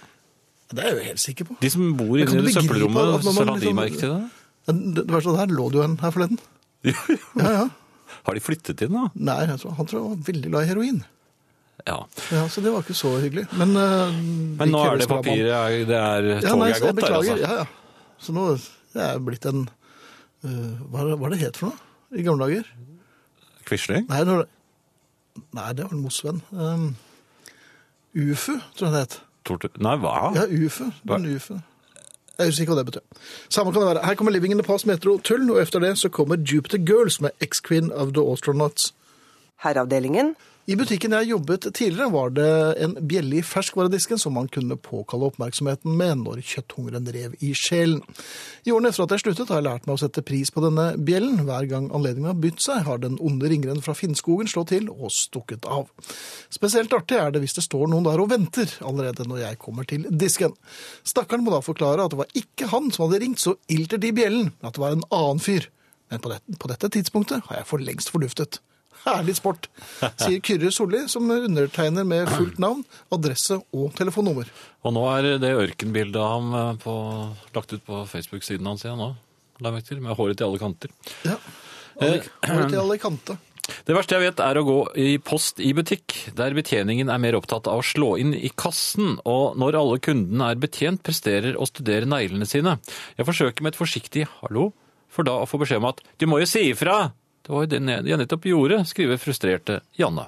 S2: Det er jeg jo helt sikker på.
S3: De som bor
S2: Men kan
S3: inne
S2: du begripe
S3: i
S2: at
S3: søppelrommet,
S2: når man
S3: så la de
S2: liksom-
S3: merke til det?
S2: sånn, Men Det det verste av det her lå det jo en her forleden. Ja, ja.
S3: Har de flyttet inn, da?
S2: Nei, jeg tror, han tror jeg var veldig glad i heroin.
S3: Ja.
S2: Ja, Så det var ikke så hyggelig. Men, eh,
S3: Men nå
S2: likevel
S3: er det
S2: skal man-
S3: papiret, er- det er
S2: Ja, nei, så
S3: toget er
S2: jeg
S3: gått der,
S2: beklager.
S3: altså.
S2: Ja, ja. Så nå det er jeg blitt en eh, Hva hva er det het for noe i gamle dager?
S3: Quisling?
S2: Nei, når, nei det var en Mosvenn. Um, UFU, tror jeg det het.
S3: Tortur- Nei, hva?
S2: Ja, UFU.
S3: Hva?
S2: Den UFU. Jeg husker ikke hva det betyr. Samme kan det være. Her kommer Living in the Past med Metro Tull, og etter det så kommer Jupiter Girls med X-Queen of the Astronauts.
S1: Herreavdelingen.
S2: I butikken jeg jobbet tidligere, var det en bjelle i ferskvaredisken som man kunne påkalle oppmerksomheten med når kjøtthungeren rev i sjelen. I årene etter at jeg sluttet, har jeg lært meg å sette pris på denne bjellen. Hver gang anledningen har bytt seg, har den onde ringeren fra Finnskogen slått til og stukket av. Spesielt artig er det hvis det står noen der og venter allerede når jeg kommer til disken. Stakkaren må da forklare at det var ikke han som hadde ringt så ilter de bjellen, men at det var en annen fyr. Men på dette, på dette tidspunktet har jeg for lengst forduftet. Herlig sport, sier Kyrre Solli, som undertegner med fullt navn, adresse og telefonnummer.
S3: Og nå er det ørkenbildet av ham eh, på, lagt ut på Facebook-siden hans igjen nå. La jeg merke til, Med håret til alle kanter.
S2: Ja. Over til Alicante.
S3: Det verste jeg vet er å gå i post i butikk, der betjeningen er mer opptatt av å slå inn i kassen, og når alle kundene er betjent, presterer å studere neglene sine. Jeg forsøker med et forsiktig hallo, for da å få beskjed om at du må jo si ifra! Det var jo det jeg nettopp gjorde, skriver frustrerte Janne.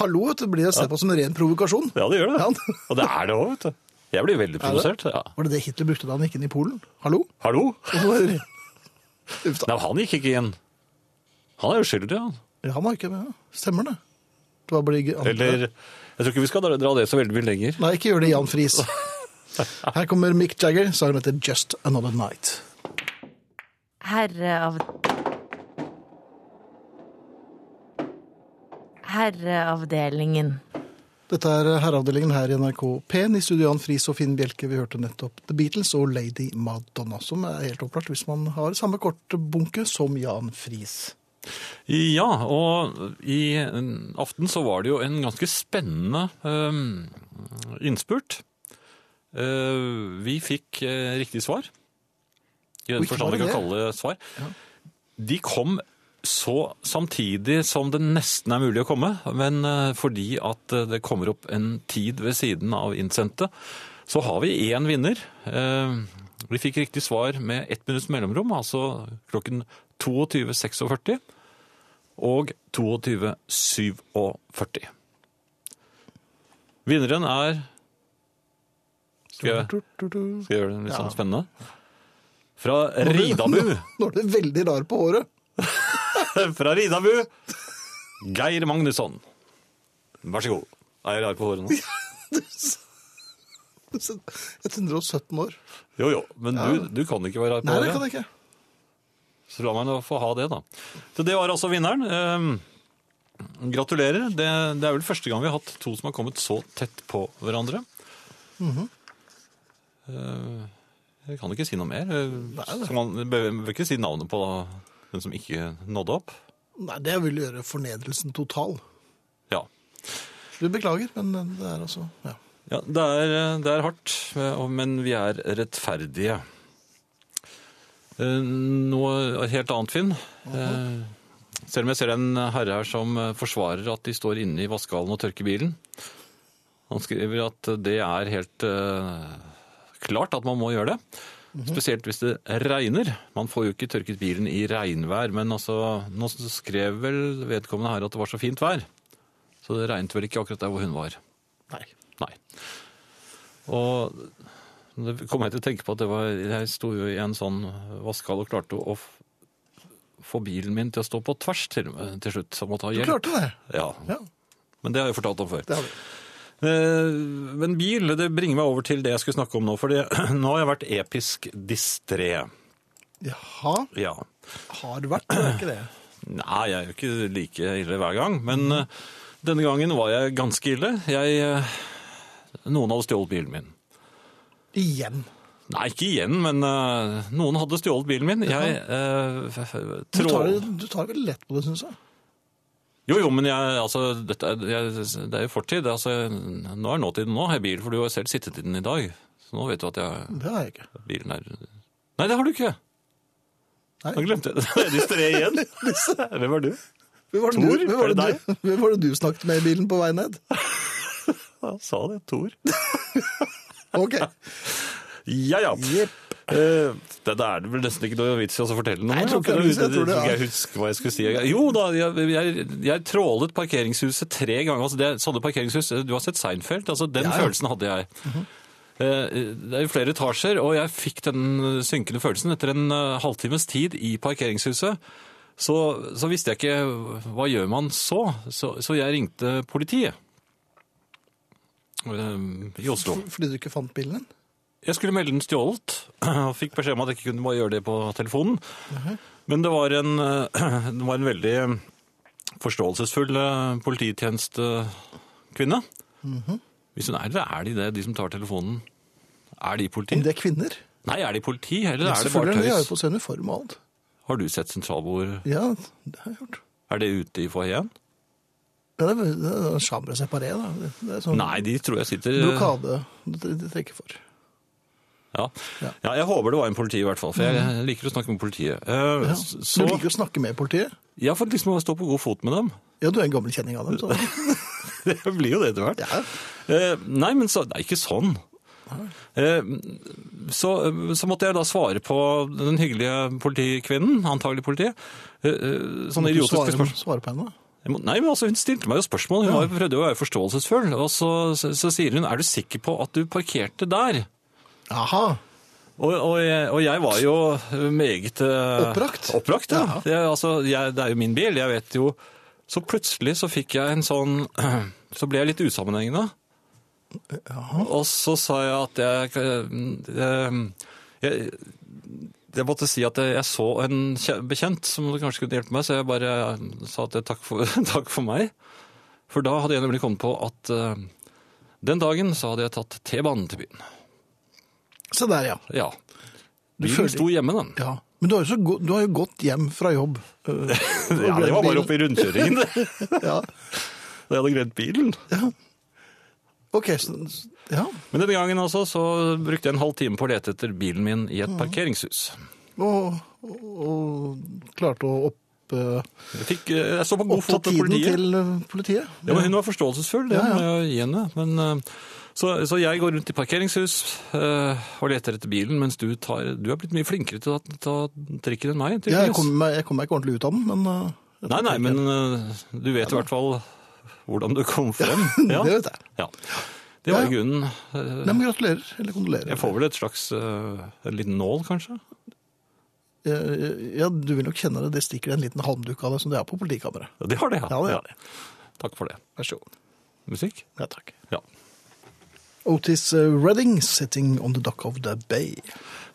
S2: Hallo, vet du, blir jeg sett på som en ren provokasjon.
S3: Ja, det gjør det.
S2: Ja.
S3: [laughs] Og det er det òg, vet du. Jeg blir veldig provosert. Ja.
S2: Var det det Hitler brukte da han gikk inn i Polen? Hallo?
S3: Hallo?
S2: Og så var det- Uff da.
S3: Nei, han gikk ikke inn. Han er uskyldig, han.
S2: Ja, han var ikke med. Stemmer det? Det var bare ikke-
S3: Eller Jeg tror ikke vi skal dra- dra det så veldig mye lenger.
S2: Nei, ikke gjør det, Jan Friis. Her kommer Mick Jagger, sangen heter Just Another Night.
S5: Herre av Herreavdelingen.
S2: Dette er herreavdelingen her i NRK P1 i studio Jan Friis og Finn Bjelke. Vi hørte nettopp The Beatles og Lady Madonna, som er helt opplagt hvis man har samme kortbunke som Jan Friis.
S3: Ja, og i eh, aften så var det jo en ganske spennende eh, innspurt. Eh, vi fikk eh, riktig svar. I den
S2: Hvilken var
S3: forstand vi
S2: det?
S3: kan kalle det svar. De kom så samtidig som det nesten er mulig å komme, men eh, fordi at eh, det kommer opp en tid ved siden av innsendte, så har vi én vinner. Eh, Vi fikk riktig svar med ett minutts mellomrom, altså klokken 22.46 og 22.47. Vinneren er Skal jeg,
S2: Nå
S3: skal jeg gjøre det litt
S2: Ja.
S3: sånn spennende? Fra
S2: blir-
S3: Ridabu!
S2: Nå er det veldig rar på håret.
S3: [laughs] Fra Ridabu! Geir Magnusson. Vær så god. Er jeg rar på
S2: [laughs]
S3: håret nå?
S2: Så- 117 år.
S3: Jo jo, men du, du kan ikke være rar på
S2: Nei, det kan jeg
S3: håret.
S2: ikke.
S3: Så la meg nå få ha det, da. Så det var altså vinneren. Ehm, gratulerer. Det, det er vel første gang vi har hatt to som har kommet så tett på hverandre. Eh, jeg kan ikke si noe mer. Eh, Skal man bør bør ikke si navnet på den som ikke nådde opp?
S2: Nei, det vil gjøre fornedrelsen total.
S3: Ja.
S2: Du beklager, men det er altså ja.
S3: ja det, er, det er hardt, eh, men vi er rettferdige. Eh, Noe helt annet, Finn. Eh, Selv om jeg ser en herre her som eh, forsvarer at de står inne i vaskehallen og tørker bilen. Han skriver at det er helt eh, klart at man må gjøre det.
S2: Mhm.
S3: Spesielt hvis det regner. Man får jo ikke tørket bilen i regnvær, men altså, nå skrev vel vedkommende her at det var så fint vær. Så det regnet vel ikke akkurat der hvor hun var.
S2: Nei.
S3: Nei. Og det kom jeg til å tenke på at det var, jeg sto jo i en sånn vaskehall og klarte å f- få bilen min til å stå på tvers til, til slutt. Så jeg måtte ha
S2: Du
S3: hjelp.
S2: klarte det.
S3: Ja,
S2: Ja,
S3: men det har jeg fortalt om før.
S2: det har vi.
S3: Eh, Men bil, det bringer meg over til det jeg skulle snakke om nå, for det- [clears throat] nå har jeg vært episk distré.
S2: Jaha,
S3: Ja.
S2: har vært, det er ikke det.
S3: Nei, jeg er jo ikke like ille hver gang,
S2: Mm.
S3: men eh, denne gangen var jeg ganske ille. Jeg, eh, noen hadde stjålet bilen min.
S2: Igjen.
S3: Nei, ikke igjen, men eh, noen hadde stjålet bilen min. Jeg uh,
S2: Du tar,
S3: trå...
S2: du tar veldig lett på det, syns jeg.
S3: Jo, jo, men jeg, altså, dette er, jeg, det er jo fortid. Altså, nå er nåtiden nå, har jeg bil, for du har selv sittet i den i dag. Så nå vet du at jeg,
S2: Det har jeg ikke.
S3: bilen er Nei, det har du ikke! Han glemte det. [laughs] Det er de tre igjen. Hvem er du?
S2: Hvem var det,
S3: Tor,
S2: du, hvem var
S3: er
S2: det,
S3: det
S2: du, hvem var det du snakket med i bilen på vei ned?
S3: Han sa det. Tor.
S2: Ok.
S3: Ja, ja.
S2: Jepp.
S3: Eh, det, det er det vel nesten ikke noe vits i å fortelle noe.
S2: Nei, jeg tror ikke
S3: for
S2: det er vits, jeg tror det, ja.
S3: jeg husker hva jeg skulle si. Jo da, jeg, jeg, jeg trålet parkeringshuset tre ganger. Altså, det, er sånne parkeringshus, Du har sett Seinfeld? Altså, den følelsen hadde jeg. Eh, Det er jo flere etasjer, og jeg fikk den synkende følelsen etter en eh, halvtimes tid i parkeringshuset. Så, så visste jeg ikke hva gjør man så, så, så jeg ringte politiet eh, i Oslo.
S2: Fordi du ikke fant bilen din?
S3: Jeg skulle melde den stjålet, og fikk beskjed om at jeg ikke kunne bare gjøre det på telefonen. Men det var en, [clears throat] eh, det var en veldig forståelsesfull eh, polititjenestekvinne.
S2: Mhm.
S3: Hvis hun er eller er de det, de som tar telefonen? Er de politi?
S2: Om det er kvinner?
S3: Nei, er de politi, eller er det bare
S2: Selvfølgelig, de har jo
S3: tøys?
S2: på seg uniform og alt.
S3: Har du sett sentralbord?
S2: Ja, det har jeg gjort.
S3: Er det ute i foajeen?
S2: Ja, det er- det er chambre separé, da. Det det er sånn
S3: Nei, de tror jeg sitter
S2: blokade de de trekker for.
S3: Ja.
S2: Ja. Mm.
S3: ja, jeg håper det var en politi i hvert fall, for jeg liker å snakke med politiet. Eh,
S2: Ja.
S3: Så,
S2: Du liker å snakke med politiet?
S3: ja, for liksom å stå på god fot med dem. [laughs]
S2: Ja, du er en gammel kjenning av dem. Så.
S3: Det blir jo det etter hvert.
S2: Ja.
S3: Eh, nei, men så, det er ikke sånn. Eh, så, eh, så måtte jeg da svare på den hyggelige politikvinnen, antagelig politiet. Eh, eh, sånne
S2: Du
S3: idiotiske
S2: svarer,
S3: spørsmål.
S2: svarer på henne.
S3: Jeg må- Nei, men altså, Hun stilte meg jo spørsmål, hun var jo- prøvde jo å være forståelsesfull. Og så, så, så sier hun 'er du sikker på at du parkerte der'?
S2: Aha.
S3: Og, og, jeg, og jeg var jo meget eh,
S2: Oppbrakt?
S3: Oppbrakt, ja. Det, er altså, jeg, det er jo min bil, jeg vet jo. Så plutselig så fikk jeg en sånn [clears throat] Så ble jeg litt usammenhengende. Og så sa jeg at jeg eh, Jeg, jeg måtte si at jeg, jeg så en kje- bekjent som kanskje kunne hjelpe meg, så jeg bare sa at jeg, takk, for, [laughs] takk for meg. For da hadde jeg nemlig kommet på at eh, den dagen så hadde jeg tatt T-banen til byen.
S2: Se der, ja.
S3: Ja.
S2: føler-
S3: Bilen sto hjemme, den.
S2: ja. Men du har, jo så gå, du har jo gått hjem fra jobb. øh,
S3: [laughs] Ja,
S2: og
S3: det var
S2: glemt
S3: bare
S2: bilen.
S3: oppe i rundkjøringen.
S2: Ja.
S3: [laughs] Da jeg hadde glemt bilen.
S2: Ok, så, ja.
S3: Men denne gangen altså, så brukte jeg en halv time på å lete etter bilen min i et parkeringshus.
S2: Og, og, og klarte å opp, øh,
S3: Jeg, fikk, eh, jeg så på god
S2: oppta
S3: fot med
S2: tiden
S3: politiet.
S2: til øh, politiet.
S3: Ja, men hun var forståelsesfull, det
S2: Ja, ja.
S3: må jeg gi henne. Men, eh, så, så jeg går rundt i parkeringshus eh, og leter etter bilen, mens du, tar, du er blitt mye flinkere til å ta trikken enn meg.
S2: Ja, jeg
S3: tydeligvis.
S2: kom meg, jeg kom meg ikke ordentlig ut av den, men øh, jeg
S3: Nei,
S2: tok
S3: nei,
S2: den.
S3: men eh, du vet i hvert fall hvordan du kom frem. Ja,
S2: [laughs] Det vet jeg.
S3: Ja. Det var
S2: Ja,
S3: i
S2: ja.
S3: grunnen eh,
S2: Nei, men gratulerer, eller kondolerer.
S3: Jeg får vel et slags eh, en liten nål, kanskje?
S2: Eh, Ja, du vil nok kjenne det. Det stikker en liten halmduk av deg som det er på politikammeret.
S3: Ja, det har det,
S2: Ja, det har
S3: Takk for det.
S2: Vær så god.
S3: Musikk?
S2: Ja, takk.
S3: Ja.
S2: Otis eh, Redding, 'Sitting on the Dock of the Bay'.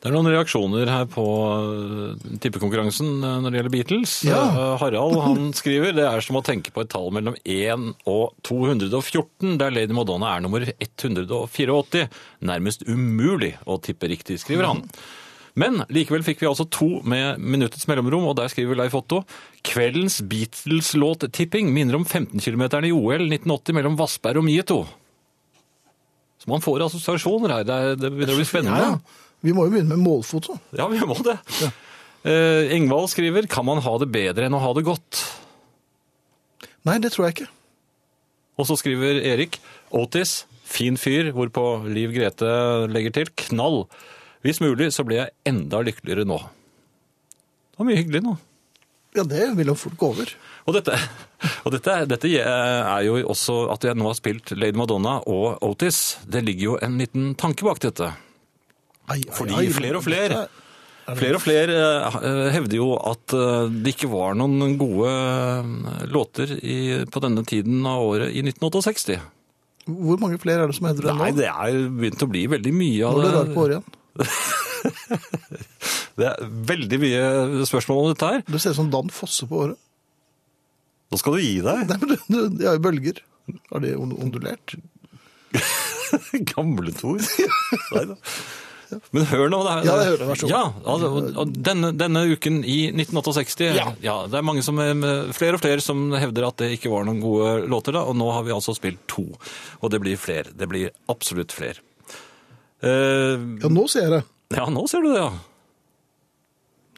S3: Det er noen reaksjoner her på eh, tippekonkurransen eh, når det gjelder Beatles.
S2: Ja.
S3: Eh, Harald han [laughs] skriver det er som å tenke på et tall mellom 1 og 214, der Lady Madonna er nummer 184. Nærmest umulig å tippe riktig, skriver han. Men likevel fikk vi altså to med minuttets mellomrom, og der skriver Leif Otto kveldens Beatles-låt-tipping minner om 15 km i OL 1980 mellom Vassberg og Mieto. Så man får assosiasjoner her. Det, er, det begynner å bli spennende.
S2: Vi må jo begynne med målfoto.
S3: Ja, vi må det. Eh, Engvald skriver Kan man ha det bedre enn å ha det godt?
S2: Nei, det tror jeg ikke.
S3: Og så skriver Erik Otis, fin fyr, hvorpå Liv Grete legger til knall. Hvis mulig så blir jeg enda lykkeligere nå. Det var mye hyggelig nå.
S2: Ja, det vil jo fort gå over.
S3: Og dette, [laughs] og dette, dette er jo også at jeg nå har spilt Lady Madonna og Otis. Det ligger jo en liten tanke bak dette.
S2: Ai, ai,
S3: Fordi
S2: ai,
S3: flere og
S2: men dette
S3: flere-
S2: er-
S3: Flere og flere eh, hevder jo at eh, det ikke var noen gode eh, låter i, på denne tiden av året i 1968.
S2: Hvor mange flere er det som hevder det nå?
S3: Nei, det er begynt å bli veldig mye
S2: Nå
S3: av
S2: ble det rart på året igjen.
S3: Det er veldig mye spørsmål om dette her.
S2: Det ser ut som Dan Fosse på året.
S3: Nå skal du gi deg.
S2: Nei, men det, det er jo bølger. Har de on- ondulert?
S3: [laughs] Gamle Tor. Nei da. Men hør nå. Det er,
S2: Ja, jeg hører det, vær så god.
S3: Ja, altså, og- og denne, denne uken i 1968 ja. Det er mange som, eh, flere og flere som hevder at det ikke var noen gode låter da, og nå har vi altså spilt to. Og det blir flere. Det blir absolutt flere. Eh,
S2: Ja, nå ser jeg det.
S3: ja, nå ser du det, ja.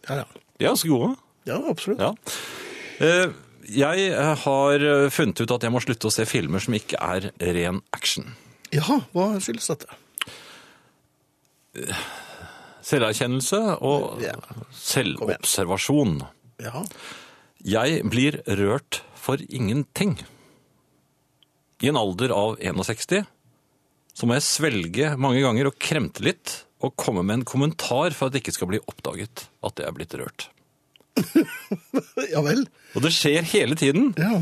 S2: Ja, ja.
S3: De er ganske gode.
S2: Ja, absolutt.
S3: Ja. Eh, Jeg eh, har eh, funnet ut at jeg må slutte å se filmer som ikke er ren action.
S2: Jaha, hva skyldes dette?
S3: Selverkjennelse og
S2: Ja.
S3: selvobservasjon.
S2: Ja,
S3: Jeg blir rørt for ingenting. I en alder av 61 så må jeg svelge mange ganger og kremte litt og komme med en kommentar for at det ikke skal bli oppdaget at jeg er blitt rørt.
S2: ja vel.
S3: Og det skjer hele tiden.
S2: Ja.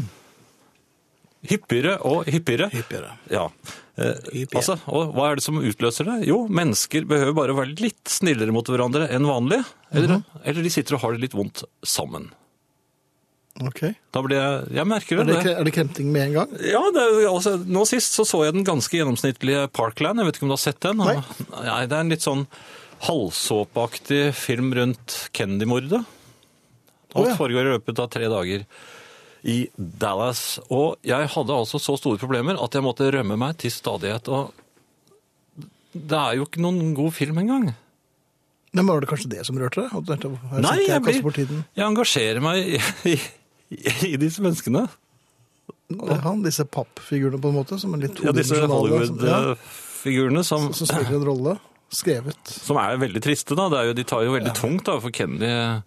S3: Hyppigere og hyppigere.
S2: Hyppigere.
S3: Ja. Eh,
S2: Hyppigere.
S3: altså, og hva er det som utløser det? Jo, mennesker behøver bare å være litt snillere mot hverandre enn vanlig. Eller,
S2: Mhm.
S3: eller de sitter og har det litt vondt sammen.
S2: Ok. Er
S3: Da blir jeg Jeg merker det.
S2: det,
S3: det.
S2: kre- er det kremting med en gang?
S3: Ja, det, er jo- altså, Nå sist så, så jeg den ganske gjennomsnittlige Parkland. Jeg vet ikke om du har sett den?
S2: Nei.
S3: Nei, Det er en litt sånn halvsåpeaktig film rundt Kennedy-mordet. Alt
S2: Å, ja.
S3: foregår i løpet av tre dager i Dallas. Og jeg hadde altså så store problemer at jeg måtte rømme meg til stadighet. Og det er jo ikke noen god film engang.
S2: Nei, men var det kanskje det som rørte deg? At du tenkte, her
S3: Nei,
S2: sitter
S3: jeg,
S2: kaster bort
S3: blir,
S2: tiden.
S3: jeg engasjerer meg i, i, i disse menneskene.
S2: Han, disse pappfigurene på en måte, som er litt
S3: Ja, disse eh,
S2: todimensjonale, som,
S3: Hollywood-figurene som
S2: ja, altså. som spiller en rolle. Skrevet.
S3: Som er veldig triste, da. Det er jo, de tar jo veldig tungt, da, for Kennedy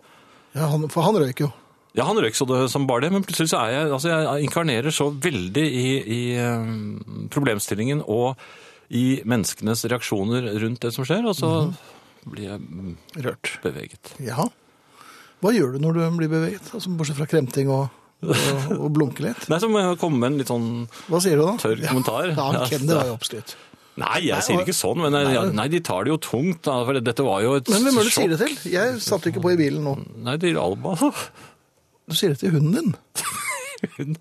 S2: Ja, han, for han røyk jo.
S3: Ja, han røyk så det som bare det, men plutselig så er jeg Altså, jeg inkarnerer så veldig i, i eh, problemstillingen og i menneskenes reaksjoner rundt det som skjer, og så
S2: Mhm.
S3: blir jeg mm,
S2: Rørt.
S3: beveget.
S2: Ja. Hva gjør du når du blir beveget? Altså, bortsett fra kremting og, og, og blunke litt.
S3: Nei, så må jeg komme med en litt sånn
S2: Hva sier du da?
S3: Tørr kommentar.
S2: Ja, ja Kennedy var jo oppskrytt.
S3: Nei, jeg sier
S2: og-
S3: ikke sånn, men jeg, ja, nei, de tar det jo tungt, da, for dette var jo et
S2: Men hvem er det du sier det
S3: sjokk.
S2: til? Jeg satt ikke på i bilen nå.
S3: Nei, til Alba.
S2: Du sier det til hunden din.
S3: Hun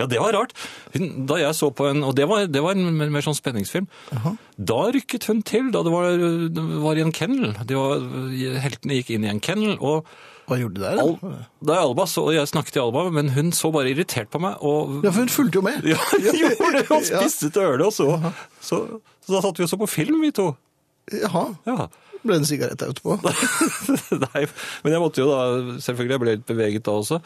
S3: Ja, det var rart. Hun, da jeg så på en Og det var, det var en mer, mer sånn spenningsfilm. Da rykket hun til, da det var, det var i en kennel. De var, heltene gikk inn i en kennel, og
S2: Hva gjorde du der?
S3: Al,
S2: da?
S3: da jeg Alba så, og jeg snakket til Alba, men hun så bare irritert på meg, og
S2: Ja, for hun fulgte jo med.
S3: [laughs] ja, gjorde det, og
S2: Ja.
S3: spiste til ølet, og så, så Så da satt vi og så på film, vi to.
S2: Jaha.
S3: Ja. [laughs]
S2: Ble det en sigarett der ute på?
S3: Nei, men jeg måtte jo da Selvfølgelig, jeg ble litt beveget da også.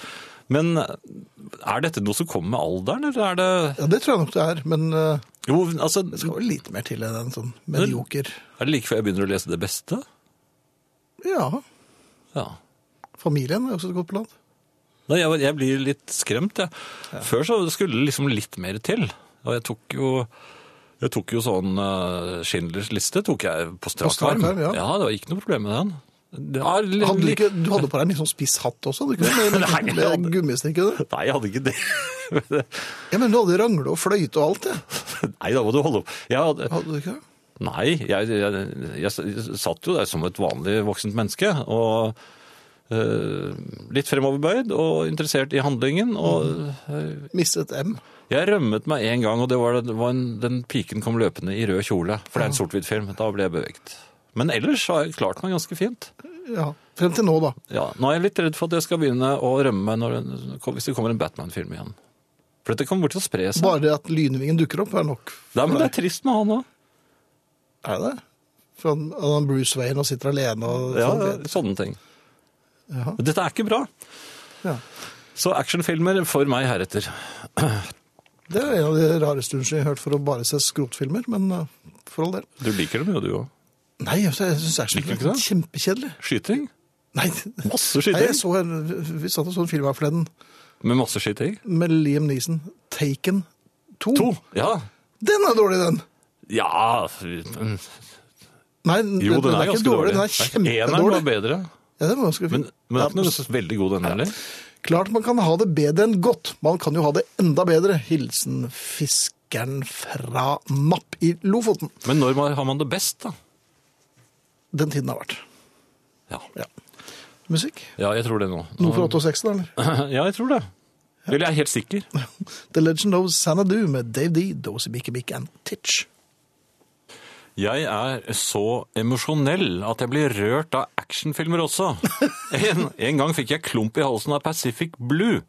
S3: Men er dette noe som kommer med alderen, eller er det
S2: Ja, det tror jeg nok det er, men eh,
S3: Jo, altså
S2: det skal vel litt mer til enn en sånn medioker
S3: Er det like før jeg begynner å lese det beste?
S2: Ja.
S3: Ja.
S2: Familien er også et godt plan.
S3: Nei, jeg, jeg blir litt skremt, jeg. Før så skulle det liksom litt mer til. Og jeg tok jo, jeg tok jo sånn eh, Schindlers liste tok jeg på strak
S2: strak
S3: arm.
S2: arm, ja.
S3: det var ikke noe problem med den. Det var li-
S2: Hadde du, ikke, du hadde på deg en litt sånn spiss hatt også? Hadde du ikke det?
S3: Nei,
S2: Med,
S3: jeg
S2: med,
S3: hadde-
S2: med gummistrikkede?
S3: Nei, jeg hadde ikke det. [laughs]
S2: Jeg mener, du hadde rangle og fløyte og alt, det.
S3: Nei, da må du holde opp. Jeg hadde,
S2: Hadde du ikke det?
S3: Nei, jeg, jeg, jeg satt jo der som et vanlig voksent menneske, og eh, litt fremoverbøyd og interessert i handlingen,
S2: Mm.
S3: og
S2: Mistet M.
S3: Jeg rømmet meg en gang, og det var, det var en, den piken kom løpende i rød kjole. For det er en sort-hvitt film. Da ble jeg beveget. Men ellers har jeg klart meg ganske fint.
S2: Ja. Frem til nå, da.
S3: Ja, nå er jeg litt redd for at jeg skal begynne å rømme meg når, den- hvis det kommer en Batman-film igjen. For dette kommer til å spre seg.
S2: Bare at lynvingen dukker opp, er nok.
S3: Nei, men det er trist med han òg.
S2: Er det? For han, han Bruce Wayne og sitter alene og
S3: Ja,
S2: sånn.
S3: ja, sånne ting.
S2: Ja.
S3: Dette er ikke bra.
S2: Ja.
S3: Så actionfilmer for meg heretter.
S2: Det er en av de rareste unnskyld jeg har hørt for å bare se skrotfilmer, men eh, for all del.
S3: Du liker dem jo, du òg.
S2: Nei, altså, jeg syns actionfilmer
S3: Liker du
S2: er
S3: ikke
S2: kjempekjedelig.
S3: Skyting?
S2: [laughs] Nei,
S3: Masse
S2: Nei, jeg
S3: skyting?
S2: så en, vi satt og så en film her forleden
S3: Med masse skyting?
S2: med Liam Neeson, 'Taken 2'.
S3: To. Ja.
S2: Den er dårlig, den!
S3: Ja men-
S2: Nei,
S3: Jo, den er
S2: ikke
S3: ganske
S2: dårlig.
S3: dårlig.
S2: Den er
S3: Nei, Eneren var
S2: kjempedårlig.
S3: bedre.
S2: Ja, den var ganske fin.
S3: Men, men det
S2: Ja,
S3: er ikke noe veldig god denne heller.
S2: Klart man kan ha det bedre enn godt. Man kan jo ha det enda bedre. Hilsen fiskeren fra Napp i Lofoten.
S3: Men når man- har man det best, da?
S2: Den tiden har vært.
S3: Ja,
S2: Ja. Musikk?
S3: ja jeg tror det nå.
S2: Noe fra 68, da, eller?
S3: [laughs] Ja, jeg tror det. Eller jeg er helt sikker.
S2: The Legend of Sanadu med Dave D, Dozy Bikke Bikke and Titch.
S3: Jeg er så emosjonell at jeg blir rørt av actionfilmer [laughs] også. En, en gang fikk jeg klump i halsen av Pacific Blue,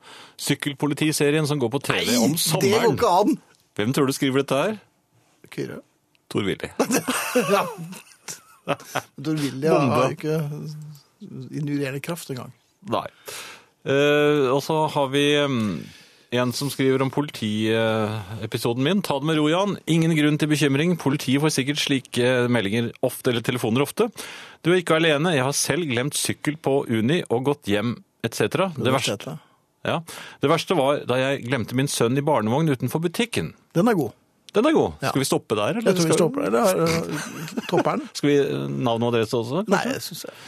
S3: sykkelpolitiserien som går på TV
S2: det
S3: om
S2: går
S3: sommeren.
S2: ikke an!
S3: Hvem tror du skriver dette her?
S2: Kyrre.
S3: Tor Willy. [laughs]
S2: ja. Tor Willy har
S3: Bombe.
S2: jo ikke injurierende kraft engang.
S3: Nei. Eh, og så har vi mm, en som skriver om politiepisoden min. Ta det med ro, Jan. Ingen grunn til bekymring. Politiet får sikkert slike eh, meldinger ofte, eller telefoner ofte. Du er ikke alene. Jeg har selv glemt sykkel på Uni og gått hjem, etc. Det verste,
S2: Universitetet.
S3: ja. det verste var da jeg glemte min sønn i barnevogn utenfor butikken.
S2: Den er god.
S3: Den er god.
S2: Ja.
S3: Skal vi stoppe der, eller?
S2: Jeg tror vi
S3: skal,
S2: stopper der. eh, Topper
S3: [laughs]
S2: den?
S3: skal vi eh, navn og adresse også?
S2: Nei, jeg syns jeg.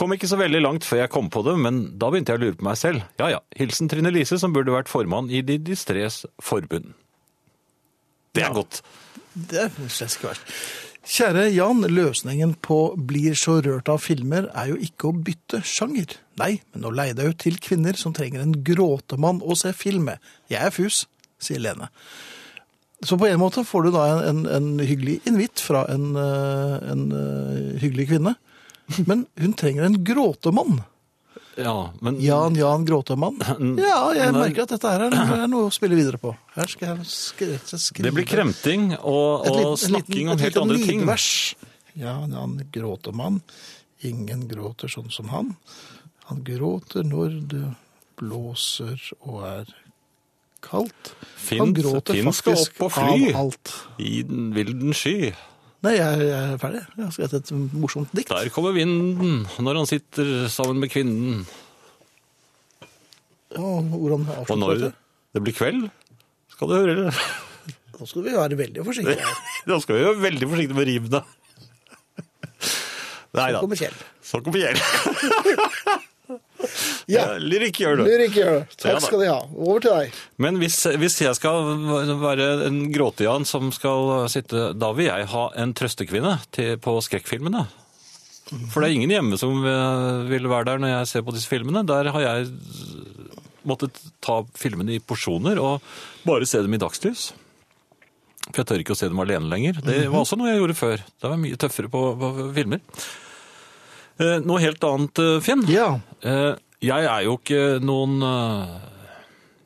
S3: Kom ikke så veldig langt før jeg kom på det, men da begynte jeg å lure på meg selv. Ja ja, hilsen Trine Lise, som burde vært formann i De distrés forbund. Det er godt.
S2: Det er slett ikke verst. Kjære Jan, løsningen på blir så rørt av filmer er jo ikke å bytte sjanger. Nei, men å leie deg ut til kvinner som trenger en gråtemann å se film med. Jeg er fus, sier Lene. Så på en måte får du da en, en, en hyggelig invitt fra en, eh, en eh, hyggelig kvinne. Men hun trenger en gråtemann.
S3: Ja, men
S2: Jan Jan Gråtemann. Ja, jeg merker at dette her er, er noe å spille videre på. Her skal jeg skri- skrive
S3: det blir kremting og,
S2: et
S3: og
S2: liten- en
S3: snakking
S2: liten-
S3: om
S2: et
S3: helt
S2: lite
S3: andre ting.
S2: nidvers. Ja, han gråter mann. Ingen gråter sånn som han. Han gråter når det blåser og er kaldt. han
S3: Finn-
S2: gråter
S3: Finn skal
S2: faktisk
S3: opp og fly.
S2: av alt.
S3: I den vilden sky,
S2: Nei, jeg, jeg er ferdig. Jeg har skrevet et morsomt dikt.
S3: der kommer vinden når han sitter sammen med kvinnen.
S2: Ja, hvordan
S3: Og
S2: avslutter
S3: når
S2: dette?
S3: det blir kveld, skal du høre [laughs] det.
S2: Nå skal vi være veldig forsiktige. her.
S3: [laughs] Da skal vi være veldig forsiktige med rimene. Nei da.
S2: Kommer Kjell.
S3: Så kommer Kjell.
S2: Ja,
S3: Lyrikk gjør du.
S2: Lyrik gjør det.
S3: Ja da.
S2: Takk skal de ha. Over til deg. [laughs]
S3: Men hvis, hvis jeg skal være en gråtejan som skal sitte Da vil jeg ha en trøstekvinne til, på skrekkfilmene. For det er ingen hjemme som eh, vil være der når jeg ser på disse filmene. Der har jeg måttet ta filmene i porsjoner og bare se dem i dagslys. For jeg tør ikke å se dem alene lenger. Det var også noe jeg gjorde før. Det var mye tøffere på, på filmer. Eh, Noe helt annet, eh, Finn.
S2: Ja.
S3: Eh, Jeg er jo ikke noen eh,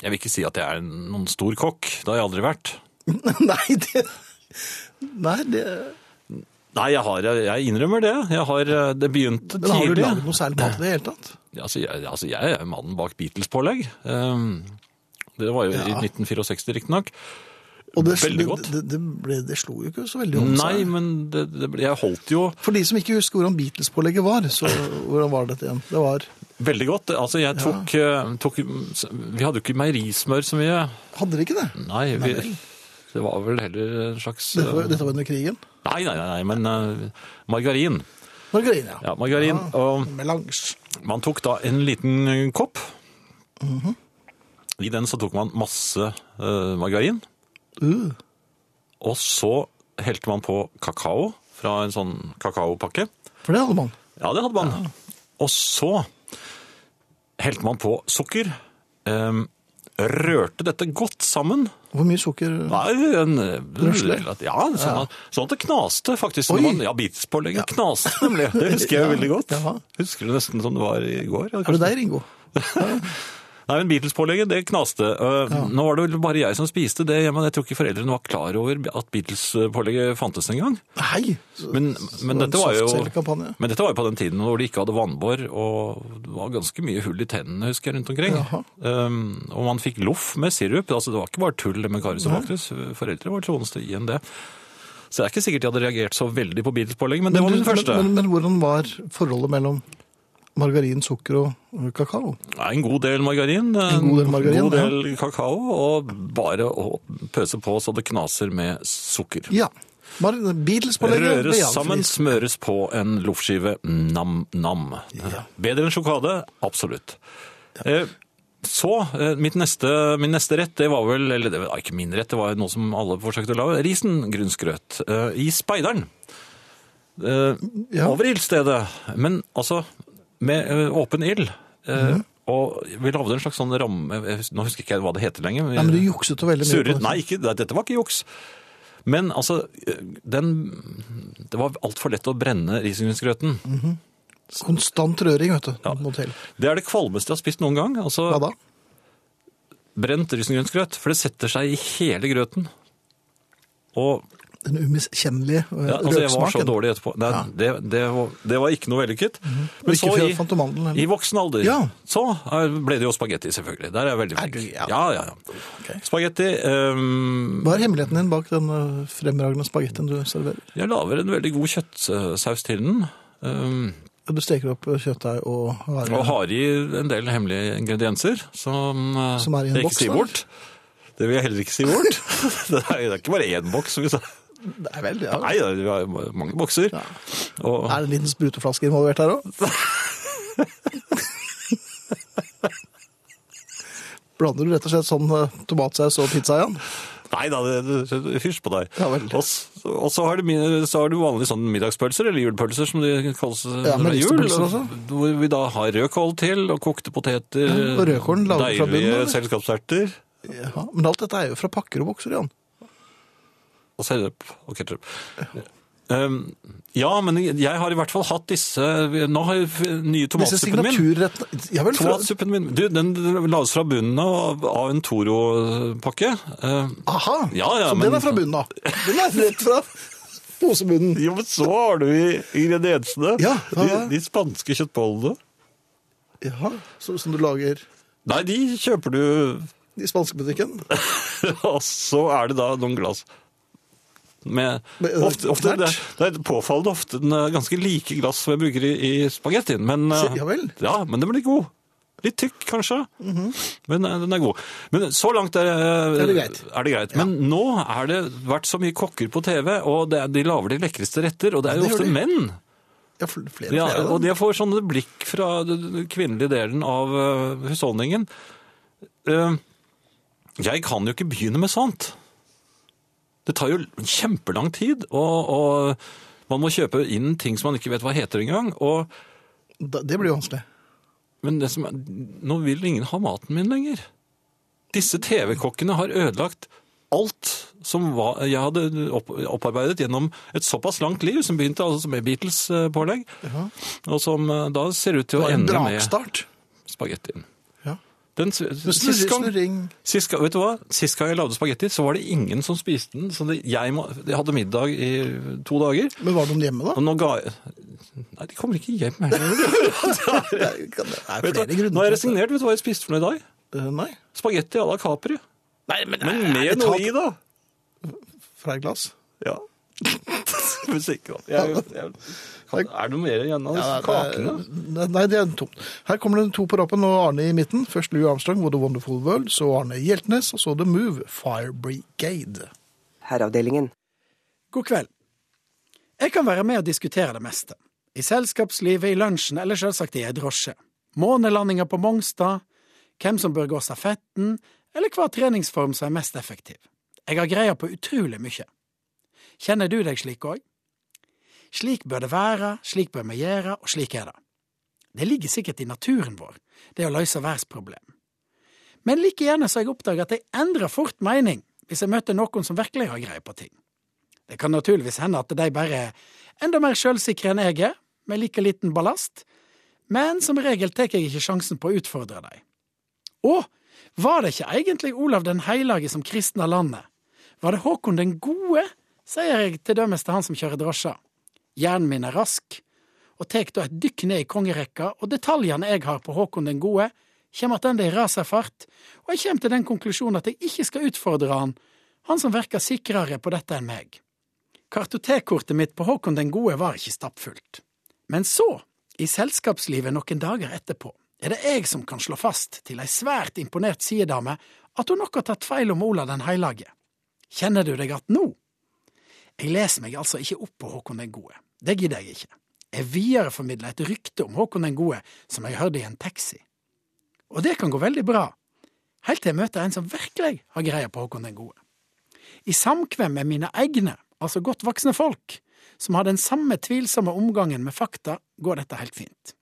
S3: Jeg vil ikke si at jeg er noen stor kokk. Det har jeg aldri vært.
S2: Nei, det Nei, det
S3: Nei, jeg, har, jeg innrømmer det. Jeg har, eh, det begynte
S2: Men har du
S3: tidlig.
S2: laget noe særlig mat i det hele tatt?
S3: Altså, jeg, altså, jeg er mannen bak Beatles-pålegg. Um, Det var jo i 1964, riktignok.
S2: Og det,
S3: Veldig godt.
S2: Det, det, ble, det slo jo ikke så veldig om
S3: Nei,
S2: seg.
S3: men det, det, ble- jeg holdt jo
S2: For de som ikke husker hvordan Beatles-pålegget var, så hvordan var dette igjen? Det var,
S3: veldig godt. Altså, jeg tok, eh, tok Vi hadde jo ikke meierismør så mye.
S2: hadde de ikke det?
S3: Nei, vi, det var vel heller en slags
S2: Dette var,
S3: eh,
S2: dette var under krigen.
S3: Nei, nei, nei, nei men eh, margarin.
S2: Margarin, ja.
S3: Ja, margarin. Og
S2: Melange.
S3: Man tok da en liten kopp. Mhm. I den så tok man masse eh, margarin.
S2: Uh,
S3: Og så helte man på kakao fra en sånn kakaopakke.
S2: for det hadde man.
S3: Ja, det hadde man. Og så helte man på sukker. em, rørte dette godt sammen.
S2: Hvor mye sukker
S3: Nei, en,
S2: Røsle?
S3: ja, sånn, at- sånn at det knaste faktisk.
S2: Oi.
S3: Når man, ja, Bitspålegget knaste nemlig.
S2: [laughs]
S3: Det husker jeg
S2: Ja,
S3: veldig godt.
S2: jaha.
S3: Husker det nesten som det var i går. eller
S2: Er
S3: kanskje
S2: det deg, Ringo?
S3: Nei, men Beatles-pålegget, det knaste. Eh, Nå var det vel bare jeg som spiste det hjemme. Jeg tror ikke foreldrene var klar over at Beatles-pålegget fantes engang.
S2: Nei! Så-
S3: Men,
S2: så
S3: men,
S2: en
S3: dette var jo-
S2: saftselekampanje.
S3: men dette var jo på den tiden hvor de ikke hadde vannbår, og det var ganske mye hull i tennene, husker jeg, rundt omkring.
S2: Jaha.
S3: Um, og man fikk loff med sirup. Altså, det var ikke bare tull det med Karius og Baktus. Foreldre var troende i enn det. Så det er ikke sikkert de hadde reagert så veldig på Beatles-pålegget, men det var
S2: du-
S3: den første.
S2: Men, men hvordan var forholdet mellom margarin, sukker og kakao?
S3: Ja, En god del
S2: En
S3: margarin,
S2: god del margarin,
S3: god del kakao, og bare å pøse på så det knaser med sukker.
S2: Ja. Mar Beatles-pålegget ble
S3: Røres
S2: avspist.
S3: sammen, smøres på en loffskive. Nam-nam. Bedre enn sjokade? Absolutt. Eh, Så, eh, mitt neste, min neste rett, det var vel, eller det var ikke min rett, det var noe som alle forsøkte å lage, risengrynsgrøt eh, i speideren. Eh,
S2: Ja.
S3: Over ildstedet, men altså med eh, åpen ild. Eh,
S2: Mhm.
S3: Og vi lagde en slags sånn ramme, jeg hus- nå husker ikke jeg hva det heter lenger.
S2: Nei, men du jukset jo veldig mye. på
S3: Surret,
S2: dette.
S3: nei, ikke, det- dette var ikke juks. Men altså, den, det var altfor lett å brenne risengrynsgrøten.
S2: Konstant røring, vet du. må til.
S3: Det er det kvalmeste jeg har spist noen gang.
S2: Hva
S3: Altså,
S2: da?
S3: brent risengrynsgrøt, for det setter seg i hele grøten. Og
S2: Den umiskjennelige eh,
S3: Ja, altså, jeg var så
S2: røksmaken.
S3: dårlig etterpå. Nei,
S2: Ja. Mhm.
S3: det, det, var, det var ikke noe vellykket. Men
S2: Ikke
S3: så
S2: fra
S3: i,
S2: fantomandelen, heller.
S3: i voksen alder
S2: Ja.
S3: så eh, ble det jo spagetti, selvfølgelig. Der er jeg veldig
S2: Er
S3: flink.
S2: du- ja.
S3: ja, ja. ja.
S2: Ok.
S3: Spagetti ehm,
S2: Hva er hemmeligheten din bak den eh, fremragende spagettien du serverer?
S3: Jeg lager en veldig god kjøttsaus til den. ehm,
S2: Du steker opp eh, kjøttdeig og hare.
S3: og har i en del hemmelige ingredienser som, eh,
S2: Som er i en
S3: jeg
S2: boks,
S3: ikke sier
S2: da?
S3: bort. Det vil jeg heller ikke si
S2: [laughs]
S3: bort. [laughs] det, er, det er ikke bare én boks. Vi sa.
S2: Nei vel, ja.
S3: Nei, det er mange bokser. Og,
S2: Er det en liten spruteflaske involvert her òg? [laughs] Blander du rett og slett sånn eh, tomatsaus og pizza igjen?
S3: Nei da, det, det, det hysj på deg.
S2: Ja vel.
S3: Og s- og så har, det, min- så har du vanlige sånne middagspølser, eller julpølser som de kalles
S2: Ja, med
S3: når det er
S2: ristepølser
S3: og-
S2: også.
S3: Hvor vi da har rødkål til, og kokte poteter.
S2: Ja, og rødkålen lager vi fra bunnen,
S3: Deilige
S2: eller?
S3: selskapsverter.
S2: Jaha, Men alt dette er jo fra pakker og bokser igjen.
S3: Og sennep og ketsjup. Um, ja, men jeg har i hvert fall hatt disse Nå har jeg f- nye
S2: Disse
S3: tomatsuppen min.
S2: signaturrettene Ja vel, fra,
S3: Tomatsuppen min. Du, den lages fra bunnen av, av en Toro-pakke. Eh,
S2: aha!
S3: Ja, ja,
S2: så
S3: men-
S2: den er fra bunnen av. Den er rett fra posebunnen.
S3: Jo, men så har du i ingrediensene.
S2: Ja, ja, ja.
S3: De, de spanske kjøttbollene.
S2: Jaha, så, Som du lager
S3: Nei, de kjøper du,
S2: i spanskebutikken?
S3: [laughs] og så er det da noen glass. Med,
S2: Men, eh,
S3: ofte, ofte, det, er, det er påfallende ofte den er ganske like glass som jeg bruker i, i spagettien. Men, eh,
S2: Se, ja vel. Mhm.
S3: ja, men den blir god. Litt tykk, kanskje, men eh, den er god. Men så langt er,
S2: Er det greit?
S3: Er det greit. Men nå har det vært så mye kokker på TV, og det, er- de lager de lekreste retter, og det er jo
S2: det gjør
S3: ofte
S2: de.
S3: menn.
S2: Ja, fl- flere, flere
S3: Ja,
S2: av
S3: og
S2: dem.
S3: det får sånne blikk fra den den kvinnelige delen av øh, husholdningen. Eh, Jeg kan jo ikke begynne med sånt. Det tar jo kjempelang tid, og, og man må kjøpe inn ting som man ikke vet hva heter engang. Og,
S2: Da- det blir jo vanskelig.
S3: men det som er, nå vil ingen ha maten min lenger. Disse TV-kokkene har ødelagt alt som var, jeg hadde opp, opparbeidet gjennom et såpass langt liv, som begynte altså med Beatles-pålegg, og som eh, da ser ut til
S2: Det
S3: å
S2: var en
S3: ende med
S2: brakstart.
S3: spagettien.
S2: Ja.
S3: Den, s- sist, gang,
S2: Snurring.
S3: sist, gang, vet du hva? sist gang jeg lagde spagetti, så var det ingen som spiste den. Så det, jeg, må, jeg hadde middag i to dager.
S2: Men var det noen hjemme, da?
S3: Og nå ga jeg Nei, de kommer ikke
S2: [laughs]
S3: hjem heller.
S2: Det er, kan- det er
S3: Vet du
S2: flere
S3: hva?
S2: grunner
S3: Nå har jeg
S2: til det.
S3: resignert. Vet du hva jeg spiste for noe i dag?
S2: Eh, Nei,
S3: Spagetti à la Capri. men,
S2: er
S3: med
S2: det
S3: noe
S2: tatt?
S3: i, da.
S2: fra et glass.
S3: Ja. [laughs] Hvis ikke, da. Jeg, jeg, kan, er det noe mer igjen av disse kakene?
S2: Nei, Nei, det er tomt. Her kommer det to på rappen og Arne i midten. Først Louis Armstrong, What a Wonderful World, så Arne Hjeltnes, og så The Move, Fire Brigade.
S1: Herreavdelingen.
S6: God kveld. Jeg kan være med og diskutere det meste. I selskapslivet, i lunsjen eller selvsagt i ei drosje. Månelandinger på Mongstad, hvem som bør gå stafetten, eller hva treningsform som er mest effektiv. Jeg har greia på utrolig mye. Kjenner du deg slik òg? Slik bør det være, slik bør vi gjøre, og slik er det. Det ligger sikkert i naturen vår, det å løse verdensproblem. Men like gjerne så har jeg oppdaga at jeg endrer fort mening hvis jeg møter noen som virkelig har greie på ting. Det kan naturligvis hende at de bare er enda mer sjølsikre enn jeg er, med like liten ballast, men som regel tar jeg ikke sjansen på å utfordre dem. Å, var det ikke egentlig Olav den hellige som kristna landet? Var det Håkon den gode, sier jeg til dømes til han som kjører drosja. Hjernen min er rask, og tek da et dykk ned i kongerekka, og detaljene jeg har på Håkon den gode, kjem attende i raserfart, og jeg kjem til den konklusjonen at jeg ikke skal utfordre han, han som verkar sikrere på dette enn meg. Kartotekkortet mitt på Håkon den gode var ikke stappfullt. Men så, i selskapslivet noen dager etterpå, er det jeg som kan slå fast til ei svært imponert sidedame at hun nok har tatt feil om Olav den hellige. Kjenner du deg att nå? Jeg leser meg altså ikke opp på Håkon den gode. Det gidder jeg ikke. Jeg videreformidler et rykte om Håkon den gode som jeg hørte i en taxi. Og det kan gå veldig bra, helt til jeg møter en som virkelig har greie på Håkon den gode i samkvem med mine egne, altså godt voksne folk, som har den samme tvilsomme omgangen med fakta, går dette helt fint.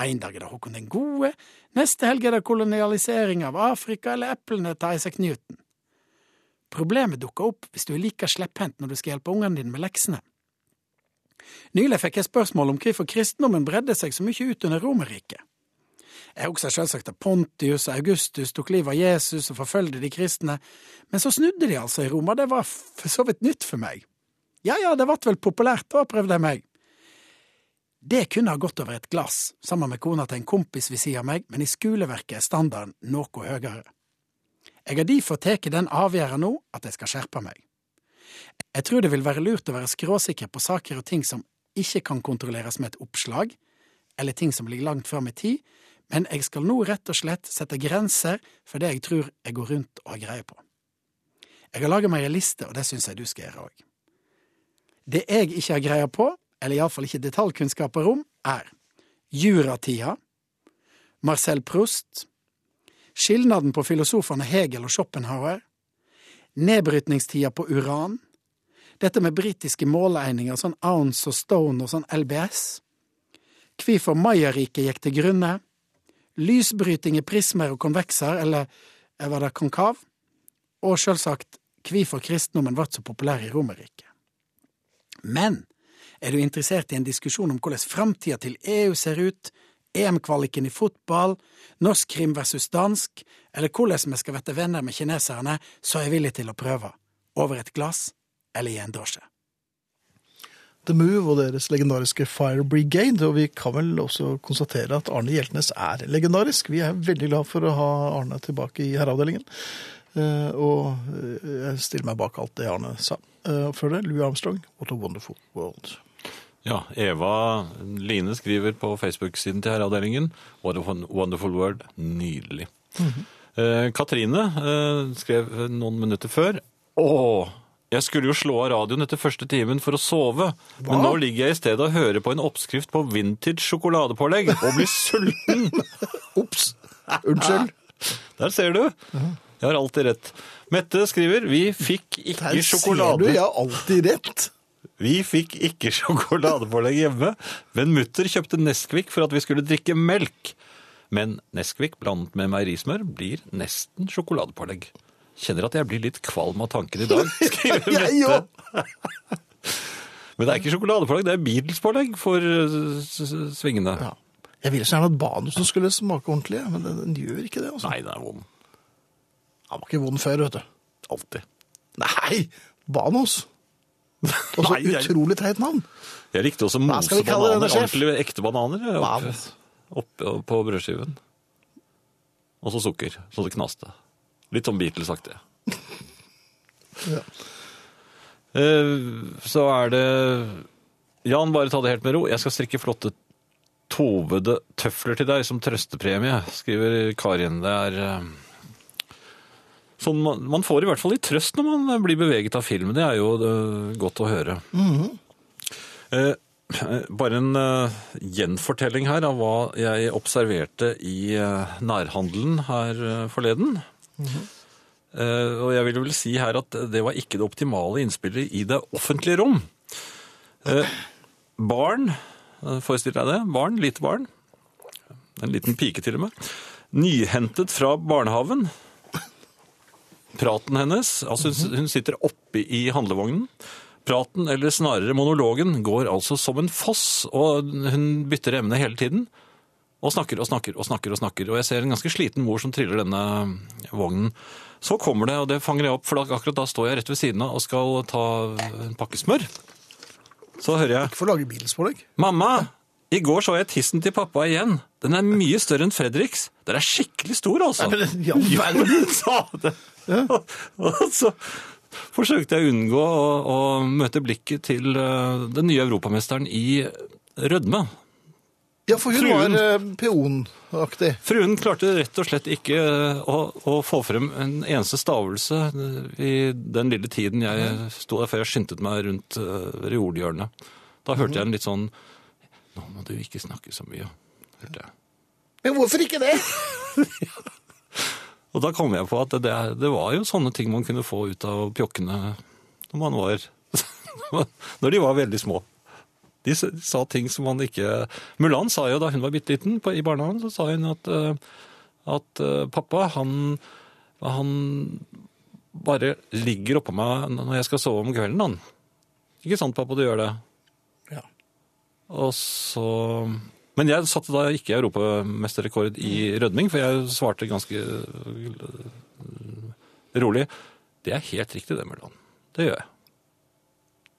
S6: En dag er det Håkon den gode, neste helg er det kolonialisering av Afrika eller eplene til Isaac Newton. Problemet dukker opp hvis du er like slepphendt når du skal hjelpe ungene dine med leksene. Nylig fikk jeg spørsmål om hvorfor kristendommen bredde seg så mye ut under Romerriket. Jeg husker selvsagt at Pontius og Augustus tok livet av Jesus og forfølgde de kristne, men så snudde de altså i Roma, det var for så vidt nytt for meg. Ja ja, det vart vel populært, da prøvde jeg meg. Det kunne ha gått over et glass, sammen med kona til en kompis ved siden av meg, men i skoleverket er standarden noe høyere. Jeg har derfor tatt den avgjørelsen nå at jeg skal skjerpe meg. Jeg tror det vil være lurt å være skråsikker på saker og ting som ikke kan kontrolleres med et oppslag, eller ting som ligger langt fram i tid, men jeg skal nå rett og slett sette grenser for det jeg tror jeg går rundt og har greie på. Jeg har laget meg ei liste, og det syns jeg du skal gjøre òg. Det jeg ikke har greie på, eller iallfall ikke detaljkunnskaper om, er juratida, Marcel Proust, skilnaden på filosofene Hegel og Schopenhauer, nedbrytningstida på uran, dette med britiske måleegninger, sånn ounce og stone og sånn LBS, hvorfor Mayariket gikk til grunne, lysbryting i prismer og konvekser, eller eh, var det konkav, og selvsagt hvorfor kristendommen ble så populær i Romerriket. Men er du interessert i en diskusjon om hvordan framtida til EU ser ut, EM-kvaliken i fotball, norsk krim versus dansk, eller hvordan vi skal bli venner med kineserne, så er jeg villig til å prøve. Over et glass eller i en drosje.
S2: The Move og deres legendariske Fire Brigade, og vi kan vel også konstatere at Arne Hjeltnes er legendarisk. Vi er veldig glad for å ha Arne tilbake i herreavdelingen. Eh, Og eh, jeg stiller meg bak alt det Arne sa. Eh, Og før det, Louis Armstrong, What a Wonderful World.
S3: Ja, Eva Line skriver på Facebook-siden til herreavdelingen What a won- wonderful world. Nydelig. Eh, Katrine eh, skrev noen minutter før Åh, jeg skulle jo slå av radioen etter første timen for å sove, men nå ligger jeg i stedet og hører på en oppskrift på vintage sjokoladepålegg og blir sulten.
S2: Ops! [laughs] Unnskyld.
S3: Der ser du. Jeg har alltid rett. Mette skriver vi fikk ikke
S2: Der ser du,
S3: sjokolade.
S2: jeg har alltid rett.
S3: Vi fikk ikke sjokoladepålegg hjemme, men mutter kjøpte Nesquik for at vi skulle drikke melk. Men Nesquik blandet med meierismør blir nesten sjokoladepålegg. Kjenner at jeg blir litt kvalm av tanken i
S2: [laughs]
S3: dag, skriver
S2: Jeg jo.
S3: Mette. [laughs] Men det er ikke sjokoladepålegg, det er Beatles-pålegg for eh, s- s- svingene.
S2: Ja. Jeg ville så gjerne at banusen skulle smake ordentlig, men den, den gjør ikke det. altså.
S3: Nei, den er vond.
S2: Han var ikke vond før, vet du.
S3: Alltid.
S2: Nei!
S3: [laughs]
S2: Banos. Og så
S3: Nei, jeg-
S2: utrolig teit navn.
S3: Jeg likte også
S2: Hva skal
S3: mose
S2: vi kalle denne,
S3: bananer,
S2: sjef?
S3: ordentlig ekte bananer, ja, opp,
S2: Banos.
S3: opp, opp på brødskiven. Og så sukker, så det knaste. Litt sånn Beatles-aktig.
S2: Ja.
S3: Eh, Så er det Jan, bare ta det helt med ro. Jeg skal strikke flotte tovede tøfler til deg som trøstepremie, skriver Karin. Det er eh, sånn man, man får i hvert fall litt trøst når man blir beveget av film. Det er jo eh, godt å høre. Eh, eh, bare en eh, gjenfortelling her av hva jeg observerte i eh, nærhandelen her eh, forleden. Eh, og jeg vil vel si her at det var ikke det optimale innspillet i det offentlige rom. Eh, barn, eh, forestill deg det, barn, lite barn, en liten pike til og med, nyhentet fra barnehaven. Praten hennes, altså hun, hun sitter oppe i handlevognen, praten, eller snarere monologen, går altså som en foss, og hun bytter emne hele tiden, og snakker og snakker og snakker og snakker, og jeg ser en ganske sliten mor som triller denne vognen. Så kommer det, og det fanger jeg opp, for da- akkurat da står jeg rett ved siden av og skal ta en pakke smør. Så hører jeg...
S2: Ikke for å lage
S3: [laughs]
S2: bilspålegg.
S3: Mamma, i går så jeg tissen til pappa igjen. Den er mye større enn Fredriks. Den er skikkelig stor, altså.
S2: Nei, men i all verden.
S3: Hun sa det. [laughs] Og så forsøkte jeg å unngå å, å møte blikket til eh, den nye europamesteren i rødme.
S2: Ja, for hun
S3: Fruen.
S2: var eh, peonaktig.
S3: Fruen klarte rett og slett ikke eh, å, å få frem en eneste stavelse eh, i den lille tiden jeg sto der, før jeg skyndte meg rundt eh, reolhjørnet. Da hørte jeg en litt sånn Nå må du ikke snakke så mye, hørte jeg.
S2: Men hvorfor ikke det?
S3: Og da kom jeg på at det, det var jo sånne ting man kunne få ut av pjokkene når man var [laughs] Når de var veldig små. De s- sa ting som man ikke Mulan sa jo da hun var bitte liten på, i barnehagen, så sa hun at, eh, at eh, pappa, han, han bare ligger oppå meg når jeg skal sove om kvelden, han. Ikke sant, pappa, du gjør det?
S2: Ja.
S3: Og så... Men jeg satte da ikke europamesterrekord i rødming, for jeg svarte ganske eh, øh, rolig. Det er helt riktig det, Mørland. Det gjør jeg.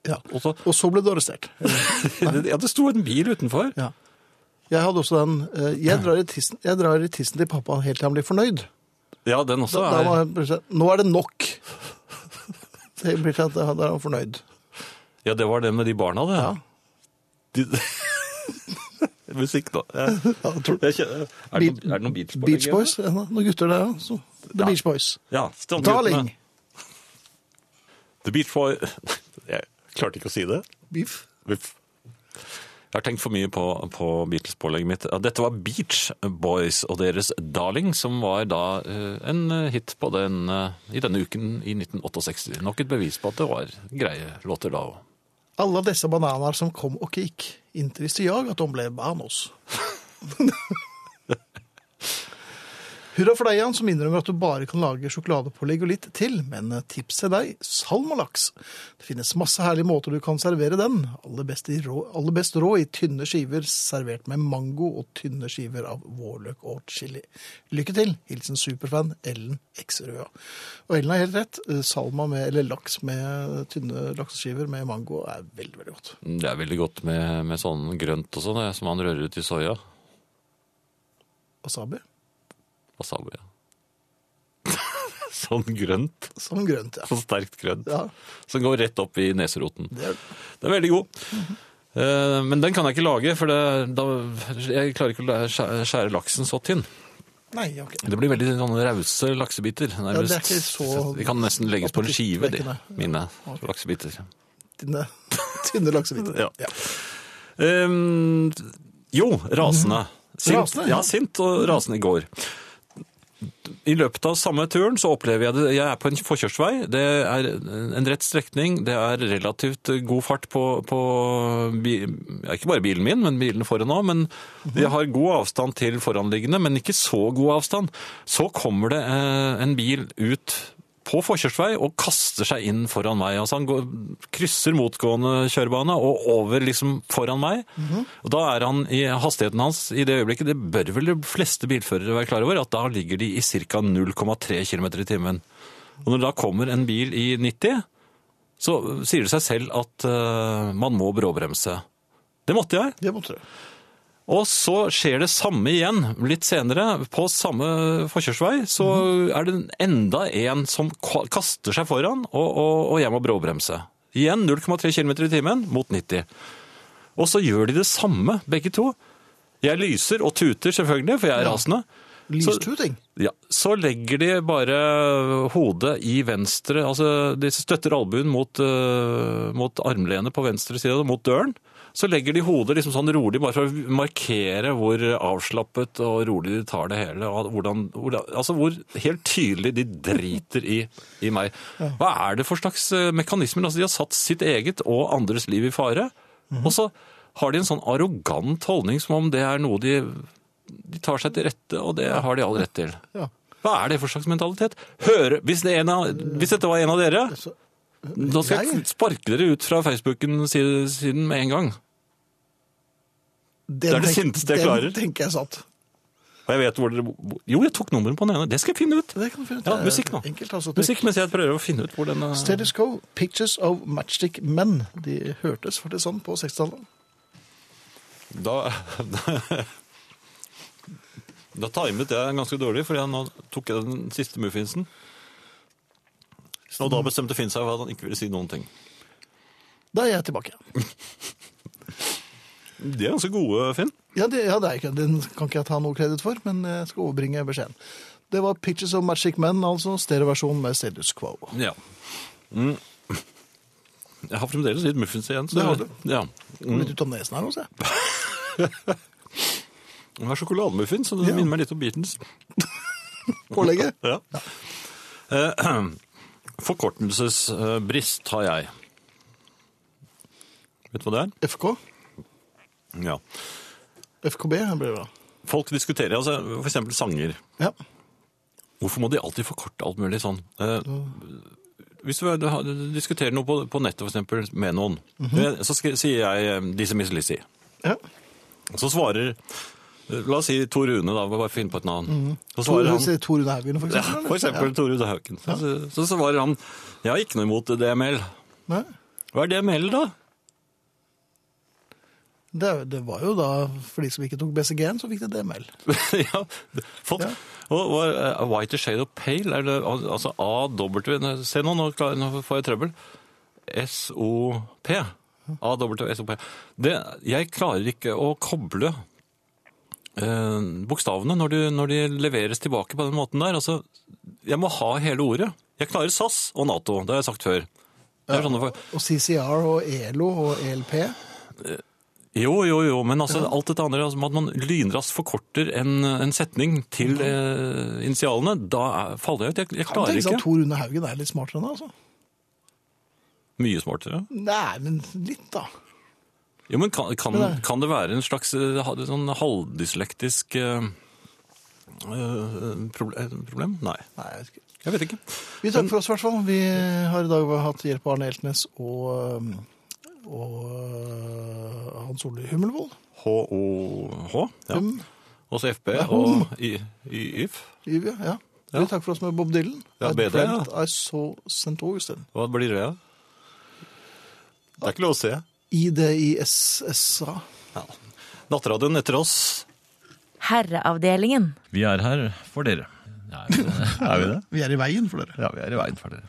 S2: Ja. [laughs]
S3: Og så,
S2: Og så ble du arrestert.
S3: ja, det sto en bil utenfor.
S2: Ja. Jeg hadde også den eh, jeg drar, i tissen, 'Jeg drar i tissen til pappa helt til han blir fornøyd'.
S3: Ja, den også
S2: Da, da
S3: er
S2: var jeg plutselig, sånn, Nå er det nok! Det blir til at Da da er han fornøyd.
S3: Ja, det var det med de barna, det. De... [laughs] Musikk, da. Jeg,
S2: Ja, jeg tror-
S3: jeg kjenner, er, det, noen- er det noen Beach Boys?
S2: Beach Boys? Ja, noen gutter der, ja. Så, The
S3: Ja.
S2: Beach Boys.
S3: Ja, Strandgutene.
S2: Darling!
S3: [laughs] The Beach Boy [laughs] Jeg klarte ikke å si det.
S2: Beef.
S3: Uff. Jeg har tenkt for mye på, på Beatles-pålegget mitt. Ja, Dette var Beach Boys og deres Darling, som var da eh, en hit på den, eh, i denne uken i 1968. Nok et bevis på at det var greie låter da òg.
S2: Alla dessa bananer som kom och gick. Inte visste jag att de blev banos. Hurra for deg, Jan, som innrømmer at du bare kan lage sjokoladepålegg og litt til. Men tips til deg salmalaks. Det finnes masse herlige måter du kan servere den. Aller best, i rå, aller best rå i tynne skiver, servert med mango og tynne skiver av vårløk og chili. Lykke til! Hilsen superfan Ellen Eksrøa. Og Ellen har helt rett. Salma med, eller laks med tynne lakseskiver med mango er veldig, veldig godt.
S3: Det er veldig godt med, med sånn grønt og sånn, det, som man rører ut i soya.
S2: Wasabi?
S3: Wasabi. Ja. [laughs] sånn grønt.
S2: Som grønt, ja.
S3: Sånn sterkt grønt.
S2: Ja.
S3: Som går rett opp i neseroten.
S2: Det er
S3: Den er veldig god. Eh, Men den kan jeg ikke lage, for det, da, jeg klarer ikke å læ- skjæ- skjære laksen så tynn.
S2: Nei, ok.
S3: Det blir veldig sånne rause laksebiter.
S2: det er
S3: nærmest.
S2: ikke så
S3: De kan nesten legges på en skive, de,
S2: appetittvekkende.
S3: mine laksebiter.
S2: Tynne, [laughs] tynne laksebiter.
S3: Ja. Ehm, jo, rasende. Sint,
S2: Mhm. Rasende, ja.
S3: ja. sint og rasende i går. I løpet av samme turen så opplever jeg det. Jeg er på en forkjørsvei. Det er en rett strekning. Det er relativt god fart på, på bi, ja, ikke bare bilen min, men bilene foran òg. Men
S2: Mhm.
S3: jeg har god avstand til foranliggende, men ikke så god avstand. Så kommer det eh, en bil ut på forkjørsvei og kaster seg inn foran meg. Altså han går, krysser motgående kjørebane og over liksom foran meg. Og da er han i hastigheten hans i det øyeblikket, det bør vel de fleste bilførere være klar over, at da ligger de i ca. 0,3 km i timen. Og når da kommer en bil i 90, så sier det seg selv at eh, man må bråbremse. Det måtte jeg.
S2: Det måtte du.
S3: Og så skjer det samme igjen litt senere. På samme forkjørsvei så er det enda en som ka- kaster seg foran, og, og, og jeg må bråbremse. Igjen 0,3 km i timen mot 90. Og så gjør de det samme, begge to. Jeg lyser og tuter selvfølgelig, for jeg er
S2: Ja.
S3: rasende. Så-
S2: Lystuting.
S3: ja, så legger de bare hodet i venstre, altså de støtter albuen mot, eh, mot armlenet på venstre side, mot døren. Så legger de hodet liksom sånn rolig, bare for å markere hvor avslappet og rolig de tar det hele. Og hvordan, hvordan, altså hvor helt tydelig de driter i, i meg. Hva er det for slags eh, mekanismer? Altså de har satt sitt eget og andres liv i fare. Og så har de en sånn arrogant holdning som om det er noe de de tar seg til rette, og det har de all rett til.
S2: Ja.
S3: Hva er det for slags mentalitet? Høre, hvis, det er en av, hvis dette var en av dere,
S2: Så-
S3: da skal jeg
S2: Jeg?
S3: sparke dere ut fra Facebooken-siden med en gang.
S2: Den
S3: er det
S2: tenk-
S3: sinteste jeg klarer.
S2: Den tenker jeg satt.
S3: Og jeg vet hvor dere... bo- Jo, jeg tok nummeret på den ene. Det skal jeg finne ut.
S2: Det kan du finne ut. Det
S3: Ja,
S2: er
S3: musikk nå.
S2: enkelt, altså.
S3: Musikk mens jeg prøver å finne ut hvor den... eh,
S2: Status Quo, Pictures of Matchstick Men. De hørtes faktisk sånn på 60-tallet.
S3: Da... [laughs] da Da timet jeg den ganske dårlig, for jeg, nå tok jeg den siste muffinsen. Og da bestemte Finn seg for at han ikke ville si noen ting.
S2: Da er jeg tilbake.
S3: De er ganske gode, Finn.
S2: Ja, det, ja, det er ikke, den kan ikke jeg ta noe kreditt for, men jeg skal overbringe beskjeden. Det var Pictures of Matchstick Men, altså stereoversjonen med Status Quo.
S3: Ja. Mm. Jeg har fremdeles litt muffins igjen. Så
S2: Det har du.
S3: Ja.
S2: Litt ut av nesen her, altså. også. jeg.
S3: Jeg har sjokolademuffins, så det
S2: Ja.
S3: minner meg litt om Beatles.
S2: [laughs] Pålegget.
S3: Ja. Eh, [clears throat] Forkortelsesbrist har jeg. Vet du hva det er?
S2: FK.
S3: Ja.
S2: FKB blir det da.
S3: Folk diskuterer, altså for eksempel sanger.
S2: Ja.
S3: Hvorfor må de alltid forkorte alt mulig sånn? Eh, hvis du, du har- du diskuterer noe på, på nettet for eksempel med noen,
S2: Mhm.
S3: eh, så skal, sier jeg eh, disse Miss Lizzie.
S2: ja.
S3: Så svarer eh, La oss si Tor Rune, da. Bare finn på et navn. Så
S2: Mhm. Tor,
S3: svarer han
S2: Tor Rune Haugen, for
S3: ja,
S2: eksempel. eller?
S3: For eksempel Tor Rune Haugen. Så, så svarer han Jeg har ikke noe imot DML.
S2: Ja. Nei.
S3: Hva er det med L, da?
S2: Det, det var jo da for de som ikke tok BCG-en, så fikk de DML.
S3: [laughs] ja, fått.
S2: Ja.
S3: Og, og, eh, white Shade of Pale, er det al- altså A, W, nei, se nå, nå, klar- nå får jeg trøbbel. S-O-P. A, W, S-O-P. Det, jeg klarer ikke å koble eh, bokstavene når de, når de leveres tilbake på den måten der. Altså, jeg må ha hele ordet. Jeg klarer SAS og NATO, det har jeg sagt før. Det er sånne, for-
S2: Og CCR og ELO og E ELP.
S3: jo, jo, jo, men altså, alt dette andre, altså, at man lynraskt forkorter en, en setning til eh, initialene, da er, liksom faller jeg ut. Jeg, jeg
S2: Kan
S3: klarer
S2: tenke seg at
S3: ikke.
S2: Tor Rune Haugen er litt smartere enn deg, altså.
S3: Mye smartere.
S2: Nei, men litt, da.
S3: Jo, men kan, kan,
S2: Det der.
S3: kan det være en slags eh, ha- sånn halvdyslektisk eh, eh, proble- problem? Nei,
S2: Nei, jeg vet ikke.
S3: jeg vet ikke.
S2: Vi takker for oss, i hvert fall. Vi har i dag hatt hjelp av Arne Eltnes og, um, og øh, Hans Ole Hummelvold.
S3: H-O-H, ja.
S2: Hum.
S3: Og så FB og I- I- YF.
S2: Yvie, ja. Vi takker for oss med Bob Dylan.
S3: Ja,
S2: I
S3: BD,
S2: dreamt
S3: ja.
S2: I saw St. Augustine.
S3: Hva blir det? da? Det er ikke lov å se.
S2: IDISSA.
S3: Ja. Nattradioen etter oss.
S5: Herreavdelingen.
S3: Vi er her for dere. er vi det?
S7: Vi er i veien for dere.
S3: Ja, vi er i veien for dere.